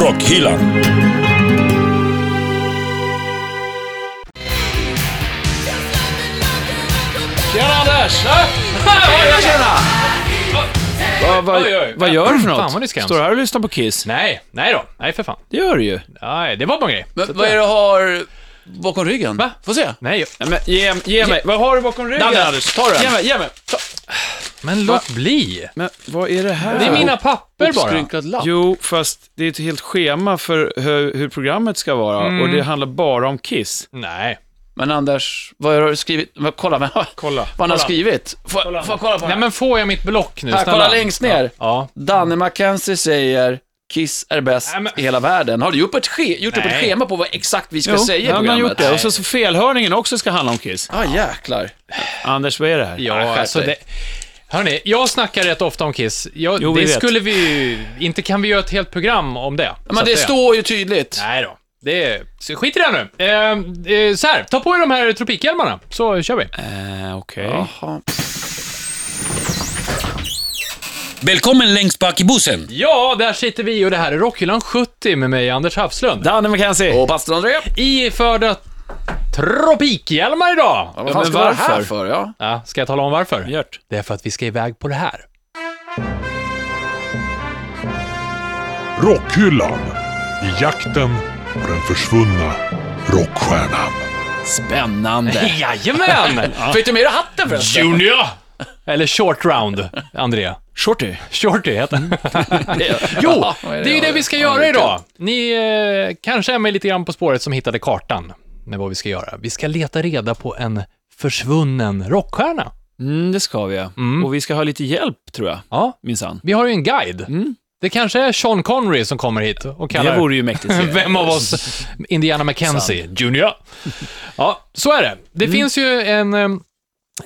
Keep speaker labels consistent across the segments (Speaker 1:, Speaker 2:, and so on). Speaker 1: Rockhyllan.
Speaker 2: Tjena Anders! Ah!
Speaker 3: Tjena, tjena! Vad va,
Speaker 2: Oj, oj.
Speaker 3: vad gör du för något?
Speaker 2: Fan, vad det skäms.
Speaker 3: Står du här och lyssnar på Kiss?
Speaker 2: Nej, nej då. Nej för fan.
Speaker 3: Det gör du ju.
Speaker 2: Nej, det var bara en grej.
Speaker 4: Men, vad är det du har bakom ryggen? Va? Få se.
Speaker 2: Nej, jag...
Speaker 3: Ja, men, ge, ge mig. Vad har du bakom ryggen?
Speaker 2: Danne, Anders,
Speaker 3: ta den. Ge mig, ge mig. Ta.
Speaker 2: Men låt bli.
Speaker 3: Men vad är det här?
Speaker 2: Det är mina papper bara.
Speaker 4: Uppskrynklad lapp.
Speaker 3: Jo, fast det är ett helt schema för hur, hur programmet ska vara och det handlar bara om Kiss.
Speaker 2: Nej.
Speaker 4: Men Anders, vad har du skrivit? Men, kolla, men,
Speaker 2: Kolla,
Speaker 4: vad han har
Speaker 2: kolla.
Speaker 4: skrivit. Får får jag kolla på
Speaker 2: Nej
Speaker 4: det?
Speaker 2: men får jag mitt block nu?
Speaker 4: Här,
Speaker 2: snälla?
Speaker 4: kolla längst ner.
Speaker 2: Ja.
Speaker 4: Danne McKenzie säger Kiss är bäst
Speaker 2: Nej, men-
Speaker 4: i hela världen. Har du gjort, ett ske, gjort upp ett
Speaker 2: Nej.
Speaker 4: schema på vad exakt vi ska
Speaker 3: Jo,
Speaker 4: säga i
Speaker 3: han har
Speaker 4: programmet?
Speaker 3: gjort det. Och så, så felhörningen också ska handla om Kiss.
Speaker 4: Ah, jäklar.
Speaker 3: Anders, vad är det här?
Speaker 2: Ja,
Speaker 4: Ah, skärp
Speaker 2: alltså
Speaker 4: dig.
Speaker 2: det... Hörni, jag snackar rätt ofta om Kiss. Jag,
Speaker 3: Jo, vi
Speaker 2: det
Speaker 3: vet.
Speaker 2: skulle vi ju... Inte kan vi göra ett helt program om det. Så
Speaker 4: Men
Speaker 2: att
Speaker 4: det står ju tydligt.
Speaker 2: Nej då. Det är... så Skit i det nu. Eh, eh, så här, ta på er de här tropikhjälmarna, så kör vi.
Speaker 3: Eh, Okej.
Speaker 4: Jaha.
Speaker 1: Välkommen längst bak i bussen.
Speaker 2: Ja, där sitter vi och det här är Rockhyllan 70 med mig, Anders Hafslund.
Speaker 3: Danne McKenzie.
Speaker 4: Och pastor André.
Speaker 2: I förda tropikhjälmar idag.
Speaker 4: Vad
Speaker 3: men
Speaker 4: fan ska det vara här
Speaker 3: varför?
Speaker 4: för? Ja.
Speaker 2: Ja, ska jag tala om varför?
Speaker 3: Gert.
Speaker 2: Det är för att vi ska iväg på det här.
Speaker 5: Rockhyllan. I jakten på den försvunna rockstjärnan.
Speaker 4: Spännande.
Speaker 2: Jajamän!
Speaker 4: Fick du med dig hatten förresten?
Speaker 2: Junior! Eller short round, André.
Speaker 3: Shorty.
Speaker 2: Shorty heter han.
Speaker 4: Mm. Jo,
Speaker 2: Det är ju det vi ska göra idag. Ni eh, kanske är med lite grann På spåret som hittade kartan med vad vi ska göra. Vi ska leta reda på en försvunnen rockstjärna.
Speaker 3: Mm, det ska vi. ja. Och vi ska ha lite hjälp, tror jag.
Speaker 2: Ja,
Speaker 3: Minsann.
Speaker 2: vi har ju en guide. Det kanske är Sean Connery som kommer hit och kallar...
Speaker 3: Mm. Det vore ju mäktigt. ser jag.
Speaker 2: Vem av oss? Indiana Mackenzie Junior. Ja, så är det. Det finns ju en... eh,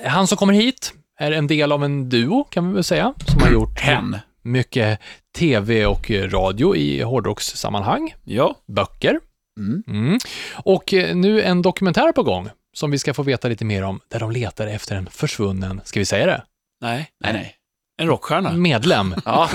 Speaker 2: Han som kommer hit är en del av en duo, kan vi väl säga, som har gjort
Speaker 4: Hen.
Speaker 2: mycket tv och eh, radio i hårdrockssammanhang.
Speaker 3: Ja.
Speaker 2: Böcker.
Speaker 4: Mm.
Speaker 2: Mm. Och eh, nu en dokumentär på gång, som vi ska få veta lite mer om, där de letar efter en försvunnen, ska vi säga det,
Speaker 3: Nej.
Speaker 4: Nej, nej.
Speaker 3: En rockstjärna.
Speaker 2: medlem.
Speaker 4: Ja.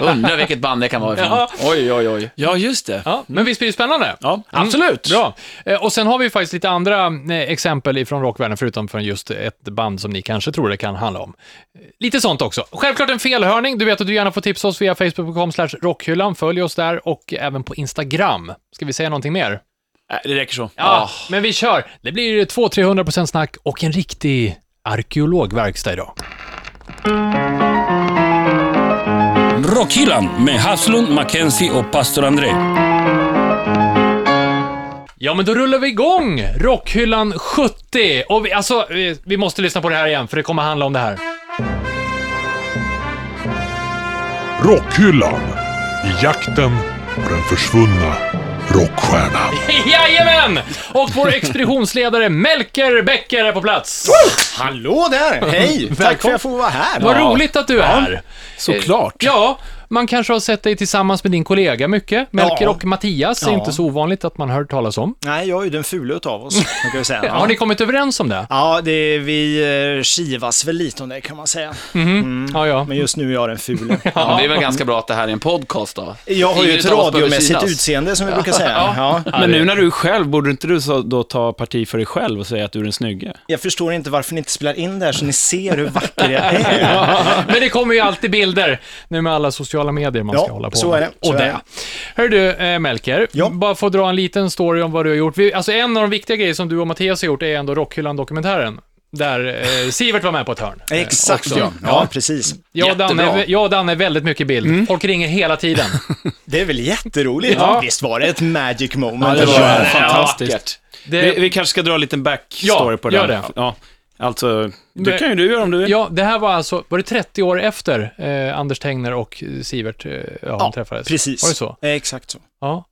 Speaker 4: Undrar vilket band det kan vara ifrån.
Speaker 2: Ja.
Speaker 4: Oj, oj, oj.
Speaker 3: Ja, just det.
Speaker 2: Ja, men visst blir det spännande?
Speaker 3: Ja. Mm.
Speaker 4: Absolut.
Speaker 2: Mm. Bra. Eh, Och sen har vi faktiskt lite andra eh, exempel ifrån rockvärlden, förutom från just ett band som ni kanske tror det kan handla om. Eh, Lite sånt också. Självklart en felhörning. Du vet att du gärna får tipsa oss via facebook.com slash rockhyllan. Följ oss där och även på Instagram. Ska vi säga någonting mer?
Speaker 3: Nej, Det räcker så.
Speaker 1: Ah.
Speaker 2: Ja, men vi kör. Det blir 200-300% snack och en riktig arkeologverkstad idag.
Speaker 1: Rockhyllan med Haslund, Mackenzie och pastor André.
Speaker 2: Ja, men då rullar vi igång Rockhyllan 70. Och vi, alltså, vi, vi måste lyssna på det här igen, för det kommer handla om det här.
Speaker 5: Rockhyllan. I jakten på den försvunna rockstjärnan.
Speaker 2: Jajamän! Och vår expeditionsledare Melker Bäcker är på plats.
Speaker 6: Hallå där! Hej! Tack för att jag får vara här.
Speaker 2: Vad roligt att du är här.
Speaker 3: Såklart.
Speaker 2: Ja, man kanske har sett dig tillsammans med din kollega mycket. Melker
Speaker 6: Ja.
Speaker 2: och Mattias är
Speaker 6: Ja.
Speaker 2: inte så ovanligt att man hör talas om.
Speaker 6: Nej, jag är ju den fule utav oss, kan jag säga.
Speaker 2: Har ni kommit överens om det?
Speaker 6: Ja, det är, vi eh, kivas väl lite om det kan man säga.
Speaker 2: Ja, ja.
Speaker 6: Mm. Men just nu är jag den fule.
Speaker 4: Ja, men det är väl ganska bra att det här är en podcast då?
Speaker 6: Jag har ju
Speaker 4: Ingen
Speaker 6: ett
Speaker 4: utav oss behöver
Speaker 6: radiomässigt
Speaker 4: synas.
Speaker 6: utseende som vi brukar säga. Ja.
Speaker 3: Men nu när du är själv, borde inte du så, då ta parti för dig själv och säga att du är den snygga?
Speaker 6: Jag förstår inte varför ni inte spelar in det här så ni ser hur vacker jag är.
Speaker 2: Men det kommer ju alltid bilder nu med alla sociala medier man
Speaker 6: Ja,
Speaker 2: ska hålla på
Speaker 6: så
Speaker 2: med.
Speaker 6: är det, så
Speaker 2: och
Speaker 6: är
Speaker 2: det. Hör du, eh, Melker,
Speaker 6: Ja.
Speaker 2: bara få dra en liten story om vad du har gjort. Vi, alltså en av de viktiga grejer som du och Mattias har gjort är ändå Rockhyllan-dokumentären. Där eh, Sivert var med på ett hörn.
Speaker 6: Exakt ja. ja, precis.
Speaker 2: Jag och, Danne,
Speaker 4: Jättebra.
Speaker 2: är- jag och Danne är väldigt mycket bild.
Speaker 6: Mm.
Speaker 2: Folk ringer hela tiden.
Speaker 6: Det är väl jätteroligt?
Speaker 2: Ja.
Speaker 6: Visst var det ett magic moment?
Speaker 3: det var
Speaker 6: Ja.
Speaker 3: det. Fantastiskt.
Speaker 2: Det,
Speaker 3: Vi, vi kanske ska dra en liten backstory
Speaker 2: Eh, Ja,
Speaker 3: på
Speaker 2: gör
Speaker 3: den.
Speaker 2: det.
Speaker 3: Ja, alltså, det
Speaker 2: Men-
Speaker 3: kan ju du göra om du vill.
Speaker 2: Ja, det här var alltså, var det 30 år efter eh, Anders Tegner och eh, Sivert eh, ja, de träffades?
Speaker 6: precis.
Speaker 2: Var det så?
Speaker 6: Eh, Exakt så.
Speaker 2: Ja.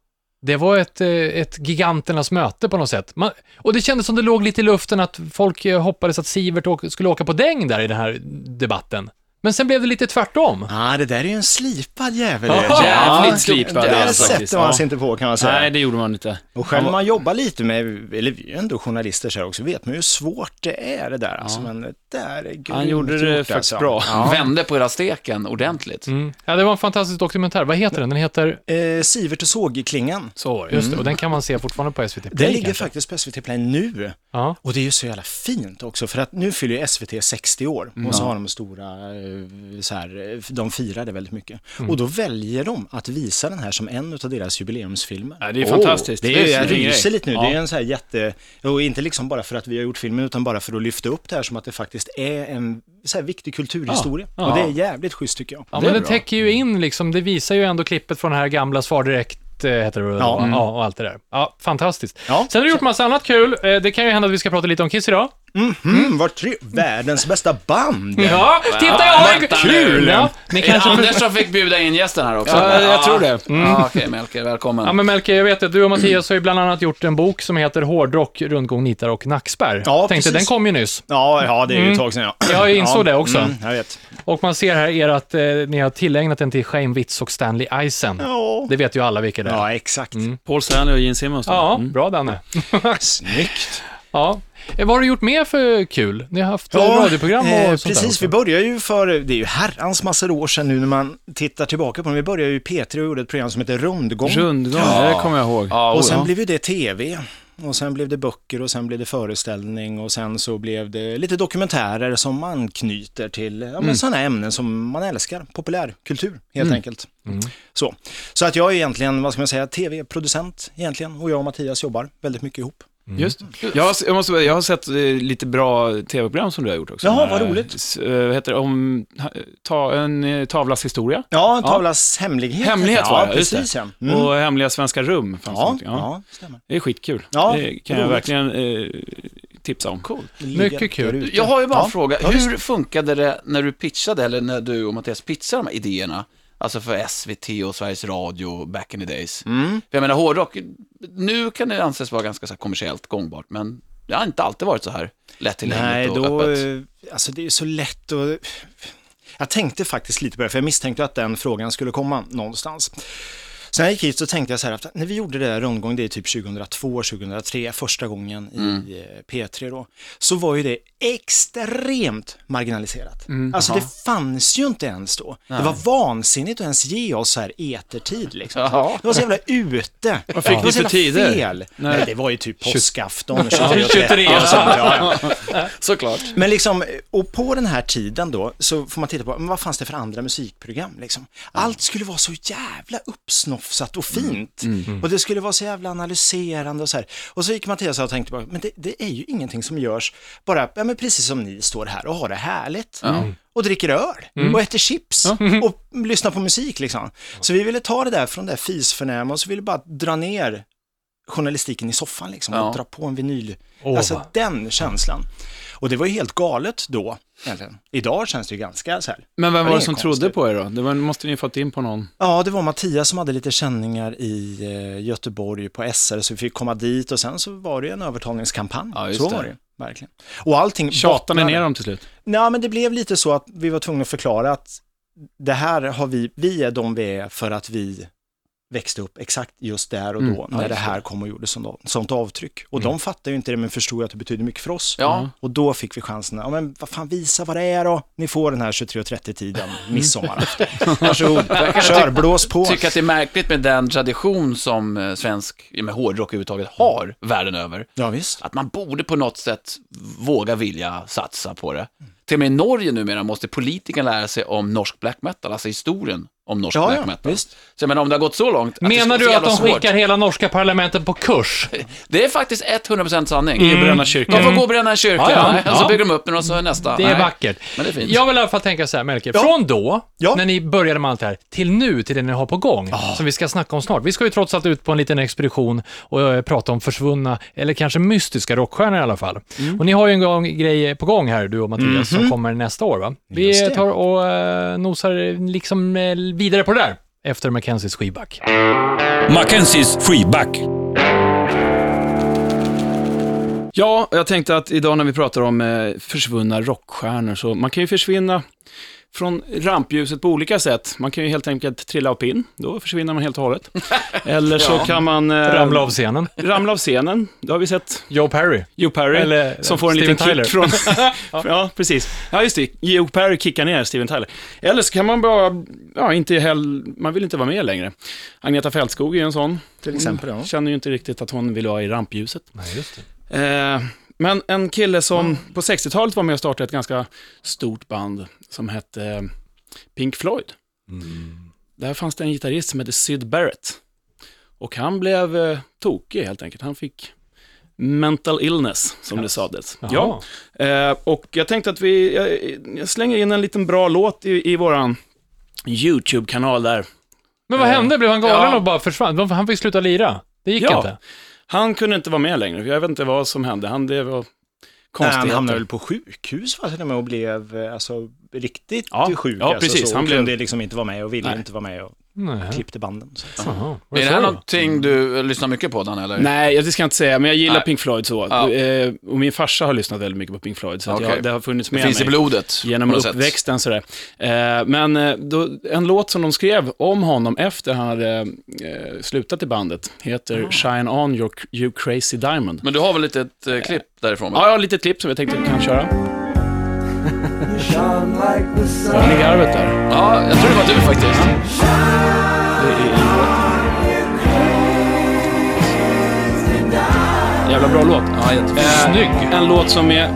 Speaker 2: Det var ett, eh, ett giganternas möte på något sätt. Man, och det kändes som det låg lite i luften att folk eh, hoppades att Sivert åk, skulle åka på däng där i den här debatten. Men sen blev det lite tvärtom.
Speaker 6: ah, det där är ju en slipad jävel.
Speaker 3: Ja, jävligt
Speaker 6: Ja.
Speaker 3: slipad
Speaker 6: Det
Speaker 3: är
Speaker 6: där
Speaker 3: han faktiskt.
Speaker 6: sätter man sig inte på kan man säga.
Speaker 3: Nej, det gjorde man inte.
Speaker 6: Och själv när man jobbar lite med, eller vi är ju ändå journalister så här också, vet man ju hur svårt det är det där. Alltså, men det där är grymt
Speaker 3: Han gjorde det
Speaker 6: gjort, alltså.
Speaker 3: faktiskt bra.
Speaker 4: Vände på hela steken ordentligt.
Speaker 2: Mm. Ja, det var en fantastisk dokumentär. Vad heter den? Den heter...
Speaker 6: Eh, Sivert och Sågklingan.
Speaker 2: Så var det, Mm. just det. Och den kan man se fortfarande på SVT Play.
Speaker 6: Den ligger
Speaker 2: kanske.
Speaker 6: faktiskt på SVT Play nu.
Speaker 2: Ja.
Speaker 6: Och det är ju så jävla fint också, för att nu fyller ju SVT 60 år. Och så har de stora, eh, så här, eh, de firar det väldigt mycket. Och då väljer de att visa den här som en av deras jubileumsfilmer.
Speaker 3: Ja, det är fantastiskt.
Speaker 6: Det är ju, jag
Speaker 3: sin grej.
Speaker 6: ryser lite nu.
Speaker 3: Ja.
Speaker 6: Det är en så här jätte, och inte liksom bara för att vi har gjort filmen, utan bara för att lyfta upp det här som att det faktiskt är en så här viktig kulturhistoria. Och det är jävligt schysst tycker jag.
Speaker 2: Ja, men den täcker ju in liksom, det visar ju ändå klippet från den här gamla Svar Direkt, eh, heter det väl,
Speaker 6: Ja.
Speaker 2: va? ja, och allt det där. Ja, fantastiskt.
Speaker 6: Ja.
Speaker 2: Sen har du gjort massa annat kul. Eh, Det kan ju hända att vi ska prata lite om Kiss idag.
Speaker 6: Mm, vad tre, världens bästa band!
Speaker 2: Ja, titta jag har en...
Speaker 4: Vänta
Speaker 2: Kul!
Speaker 4: nu.
Speaker 2: Ja, ni
Speaker 4: Är det
Speaker 2: kanske...
Speaker 4: Eh, Anders som fick bjuda in gästen här också?
Speaker 3: Ja, jag tror det. Mm.
Speaker 4: Ja, Okej, Melker, välkommen.
Speaker 2: Ja men Melke, jag vet att du och Mattias har ju bland annat gjort en bok som heter Hårdrock, rundgång, nitar och nackspärr.
Speaker 6: Ja,
Speaker 2: Tänkte,
Speaker 6: precis.
Speaker 2: den kom ju nyss.
Speaker 6: Ja, ja, det är ju ett tag sedan ja.
Speaker 2: Ja, jag insåg det också.
Speaker 6: Mm, jag vet.
Speaker 2: Och man ser här er att eh, ni har tillägnat den till Shane Witz och Stanley Eisen.
Speaker 6: Ja,
Speaker 2: Det vet ju alla vilka det är. Ja,
Speaker 6: ja exakt.
Speaker 3: Paul Stanley och Gene Simmons. då. Mm.
Speaker 2: bra Danne.
Speaker 6: Snyggt.
Speaker 2: Ja. Eh, Vad har du gjort mer för kul? Ni har haft eh,
Speaker 6: Ja,
Speaker 2: radioprogram och
Speaker 6: eh,
Speaker 2: sånt där
Speaker 6: Precis,
Speaker 2: också.
Speaker 6: vi börjar ju för, det är ju herrans massor år sedan nu när man tittar tillbaka på dem. Vi började ju P3 och gjorde ett program som heter Rundgång.
Speaker 3: Rundgång, det kommer jag ihåg.
Speaker 4: Ja,
Speaker 6: Och sen blev ju det tv. Och sen blev det böcker och sen blev det föreställning och sen så blev det lite dokumentärer som anknyter till ja, men sådana ämnen som man älskar, populärkultur helt enkelt. Så. så att jag är egentligen, vad ska man säga, tv-producent egentligen och jag och Mattias jobbar väldigt mycket ihop.
Speaker 3: Mm. Just jag, har- jag, måste, jag har sett eh, lite bra tv-program som du har gjort också.
Speaker 6: Jaha, vad
Speaker 3: Eh,
Speaker 6: roligt.
Speaker 3: s- eh, Vad heter det? Om ha- ta, en eh, tavlas historia.
Speaker 6: Ja, Tavlas hemlighet.
Speaker 3: Hemlighet
Speaker 6: ja,
Speaker 3: var det, just
Speaker 6: precis. Ja. Mm.
Speaker 3: Och hemliga svenska rum fanns det
Speaker 6: ja,
Speaker 3: någonting. ja.
Speaker 6: ja, stämmer.
Speaker 3: Det är skitkul.
Speaker 6: Ja,
Speaker 3: det kan jag
Speaker 6: roligt.
Speaker 3: verkligen eh, tipsa om. Cool.
Speaker 6: Ligger
Speaker 2: Mycket kul.
Speaker 6: där ute.
Speaker 4: Jag har ju bara
Speaker 6: Ja,
Speaker 4: en fråga.
Speaker 6: ja, visst.
Speaker 4: Hur funkade det när du pitchade, eller när du och Mattias pitchade de här idéerna? Alltså för SVT och Sveriges Radio back in the days.
Speaker 6: Mm.
Speaker 4: För jag menar, hårdrock, nu kan det anses vara ganska så här kommersiellt gångbart, men det har inte alltid varit så här
Speaker 6: Nej,
Speaker 4: lättillgängligt och
Speaker 6: då,
Speaker 4: öppet.
Speaker 6: eh, alltså det är ju så lätt att... Jag tänkte faktiskt lite på det, för jag misstänkte att den frågan skulle komma någonstans. Sen när jag gick hit så tänkte jag så här, att när vi gjorde det där rundgång, det är typ 2002, 2003, första gången i eh, P3 då, så var ju det extremt marginaliserat. Alltså det fanns ju inte ens då. Det var vansinnigt att ens ge oss så här etertid liksom.
Speaker 4: Ja.
Speaker 6: Det var så jävla ute. Vad
Speaker 3: fick
Speaker 6: det
Speaker 3: ni
Speaker 6: var så
Speaker 3: för
Speaker 6: jävla
Speaker 3: tider?
Speaker 6: fel.
Speaker 3: Nej.
Speaker 6: Nej. det var ju typ påskafton, 23 och sånt. Ja, ja.
Speaker 4: Såklart.
Speaker 6: Men liksom, och på den här tiden då så får man titta på, men vad fanns det för andra musikprogram liksom? Allt skulle vara så jävla uppsnofsat och fint. Och det skulle vara så jävla analyserande och så här. Och så gick Mattias och tänkte bara, men det, det är ju ingenting som görs bara, ja men precis som ni står här och har det härligt. Och dricker öl och äter chips och lyssnar på musik liksom. Så vi ville ta det där från det där fisförnäma och så ville vi bara dra ner journalistiken i soffan liksom
Speaker 4: Ja.
Speaker 6: och dra på en vinyl.
Speaker 2: Åh.
Speaker 6: Alltså den känslan. Och det var ju helt galet då, egentligen. Idag känns det ju ganska så här.
Speaker 3: Men vem
Speaker 6: det
Speaker 3: var det
Speaker 6: är
Speaker 3: som
Speaker 6: konstigt.
Speaker 3: trodde på er då? Det var, måste ni ju fått in på någon.
Speaker 6: Ja, det var Mattias som hade lite känningar i eh, Göteborg på SR, så vi fick komma dit och sen så var det ju en övertalningskampanj.
Speaker 4: Ja, just
Speaker 6: så
Speaker 4: det.
Speaker 6: var det ju, verkligen. Och allting...
Speaker 3: Tjatade ni
Speaker 6: bottnade-
Speaker 3: ner dem till slut?
Speaker 6: Nej, men det blev lite så att vi var tvungna att förklara att det här har vi, vi är de vi är för att vi växte upp exakt Mm. just där och då när det Mm. här kom och gjorde sånt, sånt avtryck. Och de fattade ju inte det men förstod ju att det betydde mycket för oss.
Speaker 4: Ja.
Speaker 6: Och då fick vi chansen, ja men vad fan visa vad det är då. Ni får den här 23.30-tiden midsommarafton. Mm. Varsågod, kör, blås på.
Speaker 4: Tycker att det är märkligt med den tradition som eh, svensk, med hårdrock överhuvudtaget, har världen över.
Speaker 6: Ja, visst.
Speaker 4: Att man borde på något sätt våga vilja satsa på det. Till och med i Norge numera måste politikerna lära sig om norsk black metal, alltså historien om norsk
Speaker 6: Ja,
Speaker 4: black
Speaker 6: ja,
Speaker 4: metal.
Speaker 6: visst.
Speaker 4: Så jag menar om det har gått så långt. det
Speaker 2: Menar
Speaker 4: ska
Speaker 2: du
Speaker 4: vara
Speaker 2: att de
Speaker 4: så jävla
Speaker 2: skickar hela norska parlamentet på kurs?
Speaker 4: svårt? Det är faktiskt 100% sanning.
Speaker 3: Bränna kyrkan.
Speaker 4: De får gå och bränna en kyrka,
Speaker 2: Mm. Ja, ja.
Speaker 4: Nej, och så
Speaker 2: Ja.
Speaker 4: bygger de upp en och så är nästa.
Speaker 2: Det är
Speaker 4: Nej.
Speaker 2: vackert.
Speaker 4: Men det är fint.
Speaker 2: Jag vill i alla fall tänka så här, Melker. Från då,
Speaker 6: Ja. Ah.
Speaker 2: när ni började med allt det här, till nu, till det ni har på gång, som vi ska snacka om snart. Vi ska ju trots allt ut på en liten expedition och eh, prata om försvunna, eller kanske mystiska rockstjärnor i alla fall.
Speaker 6: Mm.
Speaker 2: Och ni har ju en gång, grej på gång här, du och Mattias, som kommer nästa år, va?
Speaker 6: Mhm. Just
Speaker 2: Vi
Speaker 6: det.
Speaker 2: tar och eh, nosar liksom eh, vidare på det där, efter Mackenzies skivback.
Speaker 1: Mackenzies freeback.
Speaker 3: Ja, jag tänkte att idag när vi pratar om eh, försvunna rockstjärnor så man kan ju försvinna från rampljuset på olika sätt. Man kan ju helt enkelt trilla av pinn, då försvinner man helt och hållet. Eller så kan man eh,
Speaker 2: Ramla av scenen.
Speaker 3: ramla av scenen, det har vi sett.
Speaker 2: Joe Perry.
Speaker 3: Joe Perry,
Speaker 2: Eller, eh,
Speaker 3: som får en
Speaker 2: Steven
Speaker 3: liten
Speaker 2: Tyler.
Speaker 3: kick från... ja, precis. Ja, just det. Joe Perry kickar ner Steven Tyler. Eller så kan man bara, ja, inte heller, man vill inte vara med längre. Agneta Fältskog är en sån.
Speaker 6: Till exempel, ja.
Speaker 3: Känner ju inte riktigt att hon vill vara i rampljuset. Eh, men en kille som på 60-talet var med och startade ett ganska stort band som hette eh, Pink Floyd.
Speaker 6: Mm.
Speaker 3: Där fanns det en gitarrist som hette Syd Barrett. Och han blev eh, tokig helt enkelt. Han fick mental illness, som det sades. Ja. Eh, och jag tänkte att vi, jag, jag slänger in en liten bra låt i, i våran YouTube-kanal där.
Speaker 2: Men vad hände? Blev han galen
Speaker 3: Eh, Ja.
Speaker 2: och bara försvann? Han fick sluta lira. Det gick
Speaker 3: Ja.
Speaker 2: inte.
Speaker 3: Han kunde inte vara med längre, jag vet inte vad som hände. Han, det var
Speaker 6: Nej, han
Speaker 3: konstigheter.
Speaker 6: hamnade väl på sjukhus va, till och med och blev eh, alltså, riktigt
Speaker 3: Ja,
Speaker 6: sjuk.
Speaker 3: ja,
Speaker 6: alltså,
Speaker 3: precis.
Speaker 6: Så,
Speaker 3: Han
Speaker 6: han
Speaker 3: blev-
Speaker 6: kunde liksom inte vara med och ville
Speaker 3: Nej.
Speaker 6: inte vara med och
Speaker 2: Nej.
Speaker 6: klippte banden. Så. att-
Speaker 2: Jaha. Var
Speaker 4: Är det
Speaker 2: så
Speaker 4: här
Speaker 2: då?
Speaker 4: någonting du eh, lyssnar mycket på, Dan, eller?
Speaker 3: Nej, jag- det ska jag inte säga, men jag gillar
Speaker 4: Nej.
Speaker 3: Pink Floyd så.
Speaker 4: Ja.
Speaker 3: Eh, Och min farsa har lyssnat väldigt mycket på Pink Floyd, så att
Speaker 4: Okej.
Speaker 3: jag, det har funnits
Speaker 4: Det
Speaker 3: med
Speaker 4: finns
Speaker 3: mig
Speaker 4: i blodet.
Speaker 3: genom
Speaker 4: på något sätt.
Speaker 3: uppväxten. Sådär. Eh, Men eh, då, en låt som de skrev om honom efter han hade eh, slutat i bandet heter
Speaker 4: Ah.
Speaker 3: Shine On Your You Crazy Diamond.
Speaker 4: Men du har väl lite ett eh, klipp därifrån?
Speaker 3: Ja, jag har lite klipp som jag tänkte att vi kan köra.
Speaker 7: Shone like the sun.
Speaker 3: Håll i garvet där.
Speaker 4: Ja, jag tror det var du faktiskt.
Speaker 3: Det är i låten. Jävla bra låt. Eh,
Speaker 4: Ja, jättefint.
Speaker 2: Snygg.
Speaker 3: En låt som är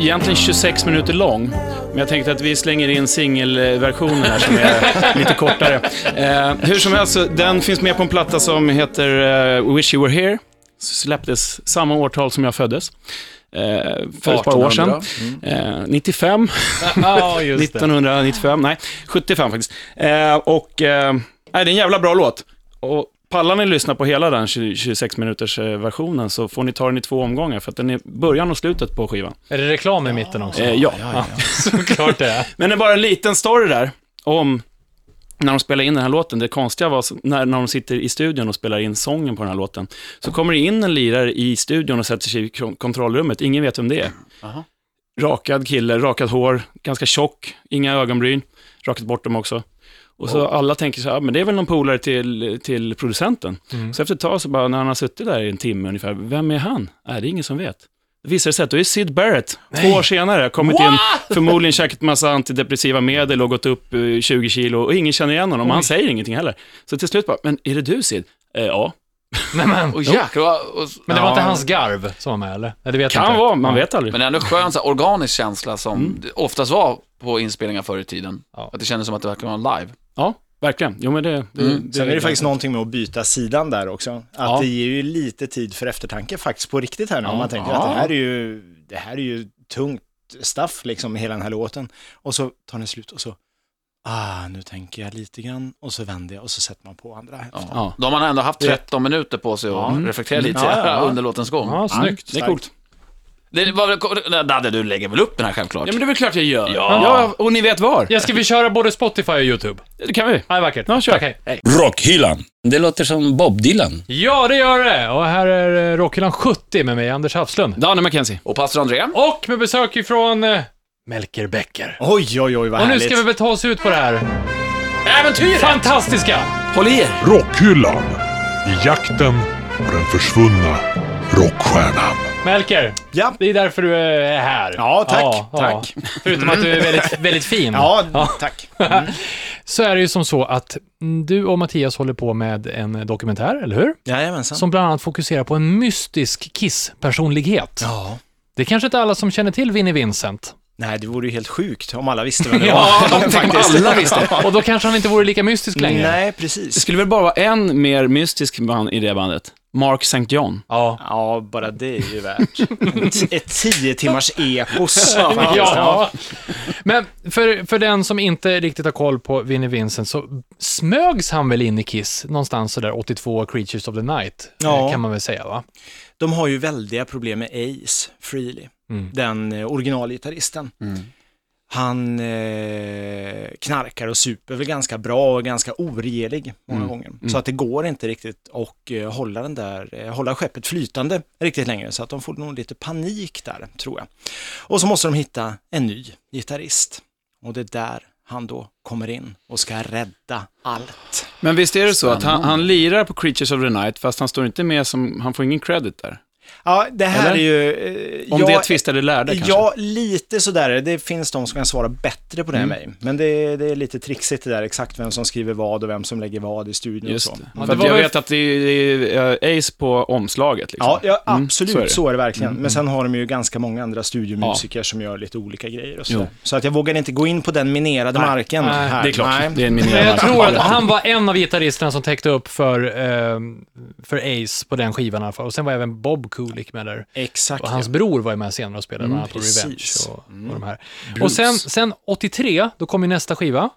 Speaker 3: egentligen 26 minuter lång. Men jag tänkte att vi slänger in singelversionen här som är lite kortare. Eh, hur som helst, så den finns med på en platta som heter eh, Wish You Were Here. Släpptes samma årtal som jag föddes. Eh, för ett par år sedan. Eh, 95.
Speaker 2: Ja, just det.
Speaker 3: 1995, nej, 75 faktiskt. Eh, och eh, nej, det är en jävla bra låt. Och pallar ni lyssna på hela den 20 26 minuters eh, versionen så får ni ta den i två omgångar för att den är början och slutet på skivan.
Speaker 2: Är det reklam i mitten också?
Speaker 3: Eh, ja.
Speaker 2: Såklart det är.
Speaker 3: Men det är bara en liten story där om när de spelar in den här låten. Det konstiga var så- när, när de sitter i studion och spelar in sången på den här låten. Så kommer det in en lirare i studion och sätter sig i kon- kontrollrummet. Ingen vet vem det är.
Speaker 4: Aha.
Speaker 3: Rakad kille, rakat hår, ganska tjock, inga ögonbryn, rakat bort dem också. Och så alla tänker så här, "Ah, men det är väl någon polare till, till producenten. Så efter ett tag så bara, när han har suttit där i en timme ungefär, vem är han? Nej, det är ingen som vet. Det visar sig att då är Sid Barrett, två år senare, kommit in, förmodligen käkat massa antidepressiva medel och gått upp eh, 20 kilo och ingen känner igen honom, och han säger ingenting heller. Så till slut bara, men är det du Sid? Eh, ja,
Speaker 2: Nej, men,
Speaker 4: Och jäklar, vad- och,
Speaker 2: men det var
Speaker 3: Ja.
Speaker 2: inte hans garv som var med, eller? Nej, det vet jag
Speaker 3: kan
Speaker 2: inte.
Speaker 3: vara, man
Speaker 2: Ja.
Speaker 3: vet aldrig.
Speaker 4: men det är ändå en skön så här, organisk känsla som det oftast var på inspelningar förr i tiden.
Speaker 2: Ja.
Speaker 4: Att det kändes som att det verkligen var live.
Speaker 3: Ja, verkligen. Jo, men det, det, Mm. det
Speaker 6: Sen är det faktiskt någonting med att byta sidan där också. Att
Speaker 3: Ja.
Speaker 6: det ger ju lite tid för eftertanke faktiskt på riktigt här nu. Om man tänker
Speaker 4: Ja.
Speaker 6: att det här är ju, det här är ju tungt staff liksom, hela den här låten. Och så tar den slut och så, ah, nu tänker jag lite grann och så vänder jag och så sätter man på andra hälften.
Speaker 3: Ja.
Speaker 4: Då har man ändå haft 13 minuter på sig att reflektera lite
Speaker 6: Ja, ja, ja.
Speaker 4: under låtens gång.
Speaker 2: Ja, snyggt.
Speaker 3: Det är coolt.
Speaker 4: Det var väl, Dadde, du lägger väl upp den här självklart?
Speaker 3: Ja, men det är väl klart jag gör.
Speaker 4: Ja.
Speaker 3: och ni vet var.
Speaker 2: Ja, ska vi köra både Spotify och YouTube?
Speaker 3: Det kan vi.
Speaker 2: Ja, det är vackert.
Speaker 3: Ja, kör.
Speaker 2: Tack, hej.
Speaker 1: Rockhyllan. Det låter som Bob Dylan.
Speaker 2: Ja, det gör det! Och här är eh, Rockhyllan 70 med mig, Anders Hafslund.
Speaker 3: Danne McKenzie.
Speaker 4: Och pastor André?
Speaker 2: Och med besök ifrån eh, Melker Bäcker.
Speaker 6: Oj, oj, oj, vad
Speaker 2: Och nu
Speaker 6: härligt.
Speaker 2: ska vi väl ta oss ut på det här äventyret! Fantastiska!
Speaker 4: Håll i er!
Speaker 5: Rockhyllan. I jakten på den försvunna rockstjärnan.
Speaker 2: Melker,
Speaker 6: Ja.
Speaker 2: det är därför du är här.
Speaker 6: Ja, tack, tack.
Speaker 2: Förutom att du är väldigt, väldigt fin.
Speaker 6: Ja, tack. Mm.
Speaker 2: Så är det ju som så att mm, du och Mattias håller på med en dokumentär, eller hur?
Speaker 6: Jajamensan.
Speaker 2: Som bland annat fokuserar på en mystisk Kiss-personlighet.
Speaker 6: Ja.
Speaker 2: Det är kanske inte alla som känner till Vinnie Vincent.
Speaker 6: Nej, det vore ju helt sjukt om alla visste vem det
Speaker 2: Ja,
Speaker 6: var. Faktiskt.
Speaker 3: alla visste.
Speaker 2: Och då kanske han inte vore lika mystisk längre.
Speaker 6: Nej,
Speaker 3: Det
Speaker 6: precis.
Speaker 3: skulle väl bara vara en mer mystisk man i det bandet. Mark St. John.
Speaker 2: Ja.
Speaker 6: Ja, bara det är ju värt en t- ett tio timmars epos. faktiskt.
Speaker 2: ja. Men för, för den som inte riktigt har koll på Vinnie Vincent så smögs han väl in i Kiss någonstans sådär 82, Creatures of the Night,
Speaker 6: Ja.
Speaker 2: eh, kan man väl säga va?
Speaker 6: De har ju väldiga problem med Ace Frehley,
Speaker 3: Mm.
Speaker 6: den eh, originalgitarristen. Han eh, knarkar och super väl ganska bra och ganska oregelig många
Speaker 3: Mm.
Speaker 6: gånger. Så att det går inte riktigt att eh, hålla, den där, eh, hålla skeppet flytande riktigt längre. Så att de får nog lite panik där, tror jag. Och så måste de hitta en ny gitarrist. Och det är där han då kommer in och ska rädda allt.
Speaker 3: Men visst är det så att han,
Speaker 6: Spännande.
Speaker 3: han lirar på Creatures of the Night, fast han står inte med som, han får ingen credit där.
Speaker 6: Ja, det här
Speaker 3: Eller?
Speaker 6: är ju... eh,
Speaker 3: Om
Speaker 6: jag-
Speaker 3: det är tvistade lärde kanske.
Speaker 6: Ja, lite sådär. Det finns de som kan svara bättre på det
Speaker 3: Mm.
Speaker 6: än mig. Men det, det är lite trixigt det där, exakt vem som skriver vad och vem som lägger vad i studion
Speaker 3: Just
Speaker 6: och så.
Speaker 3: det.
Speaker 2: Ja,
Speaker 3: För
Speaker 2: det
Speaker 3: att
Speaker 2: var
Speaker 3: jag
Speaker 2: väl-
Speaker 3: vet att det är, det är eh, Ace på omslaget. Liksom.
Speaker 6: Ja, ja
Speaker 3: Mm,
Speaker 6: absolut,
Speaker 3: så
Speaker 6: så, är
Speaker 3: är det. Mm,
Speaker 6: det verkligen. Men sen har de ju ganska många andra studiomusiker som gör lite olika grejer och så.
Speaker 3: Jo.
Speaker 6: Så att jag vågar inte gå in på den minerade marken
Speaker 2: Nej,
Speaker 6: här.
Speaker 3: Det är klart,
Speaker 6: Nej.
Speaker 3: det är en
Speaker 2: Men jag
Speaker 3: minerad
Speaker 2: tror att han var en av gitarristerna som täckte upp för, eh, för Ace på den skivan i alla fall. Och sen var även Bob Kulick med där.
Speaker 6: Exakt.
Speaker 2: Och hans bror var ju med senare och spelade bland annat på Revenge
Speaker 6: Mm, precis. Mm.
Speaker 2: och, och de här. Och sen, sen 83, då kom ju nästa skiva,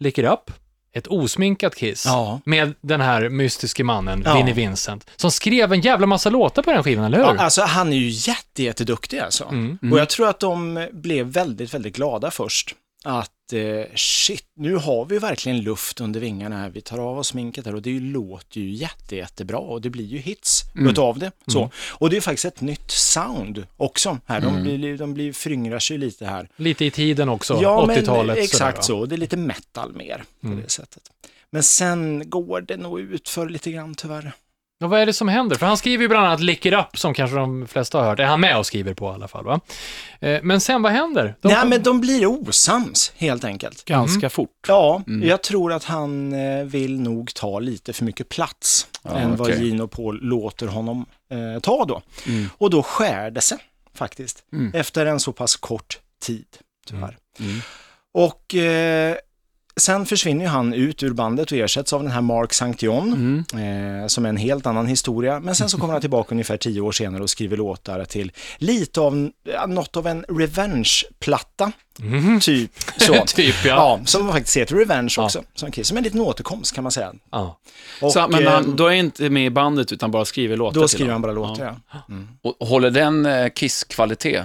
Speaker 2: Lick It Up, ett osminkat Kiss.
Speaker 6: Ja.
Speaker 2: Med den här mystiske mannen,
Speaker 6: Ja.
Speaker 2: Vinnie Vincent, som skrev en jävla massa låtar på den skivan, eller hur?
Speaker 6: Ja, alltså han är ju jätte, jätteduktig alltså.
Speaker 2: Mm.
Speaker 6: Och jag tror att de blev väldigt, väldigt glada först. Att eh, shit, nu har vi verkligen luft under vingarna här. Vi tar av oss sminket här och det ju- låter ju jätte, jättebra och det blir ju hits
Speaker 2: Mm.
Speaker 6: utav det. Så. Och det är faktiskt ett nytt sound också här. De,
Speaker 2: Mm.
Speaker 6: blir, de blir, föryngrar sig lite här.
Speaker 2: Lite i tiden också,
Speaker 6: men
Speaker 2: 80-talet. sådär, va? Mm.
Speaker 6: Exakt så. Det är lite metal mer på det sättet. Men sen går det nog ut för lite grann tyvärr.
Speaker 2: Ja, vad är det som händer? För han skriver ju bland annat Lick It Up, som kanske de flesta har hört. Det är han med och skriver på i alla fall, va? Eh, Men sen, vad händer? De- Mm.
Speaker 6: Nej, men de blir osams helt enkelt.
Speaker 3: ganska fort.
Speaker 6: Ja, jag tror att han eh, vill nog ta lite för mycket plats än vad
Speaker 4: okej.
Speaker 6: Gino Paul låter honom eh, ta då. Och då skär det sig faktiskt, efter en så pass kort tid tyvärr. Och eh, sen försvinner ju han ut ur bandet och ersätts av den här Mark St. John, eh, som är en helt annan historia. Men sen så kommer han tillbaka ungefär tio år senare och skriver låtar till lite av, ja, något av en revenge-platta, typ så.
Speaker 2: Mm. typ, ja.
Speaker 6: Ja, som faktiskt heter Revenge också, som Kiss. Som en liten återkomst kan man säga.
Speaker 2: Ja.
Speaker 6: Och,
Speaker 3: Så, men
Speaker 6: eh,
Speaker 3: han, då är inte med i bandet utan bara skriver låtar
Speaker 6: då
Speaker 3: till
Speaker 6: skriver
Speaker 3: dem.
Speaker 6: han bara låtar, ja.
Speaker 4: Och håller den eh, Kiss-kvalitet?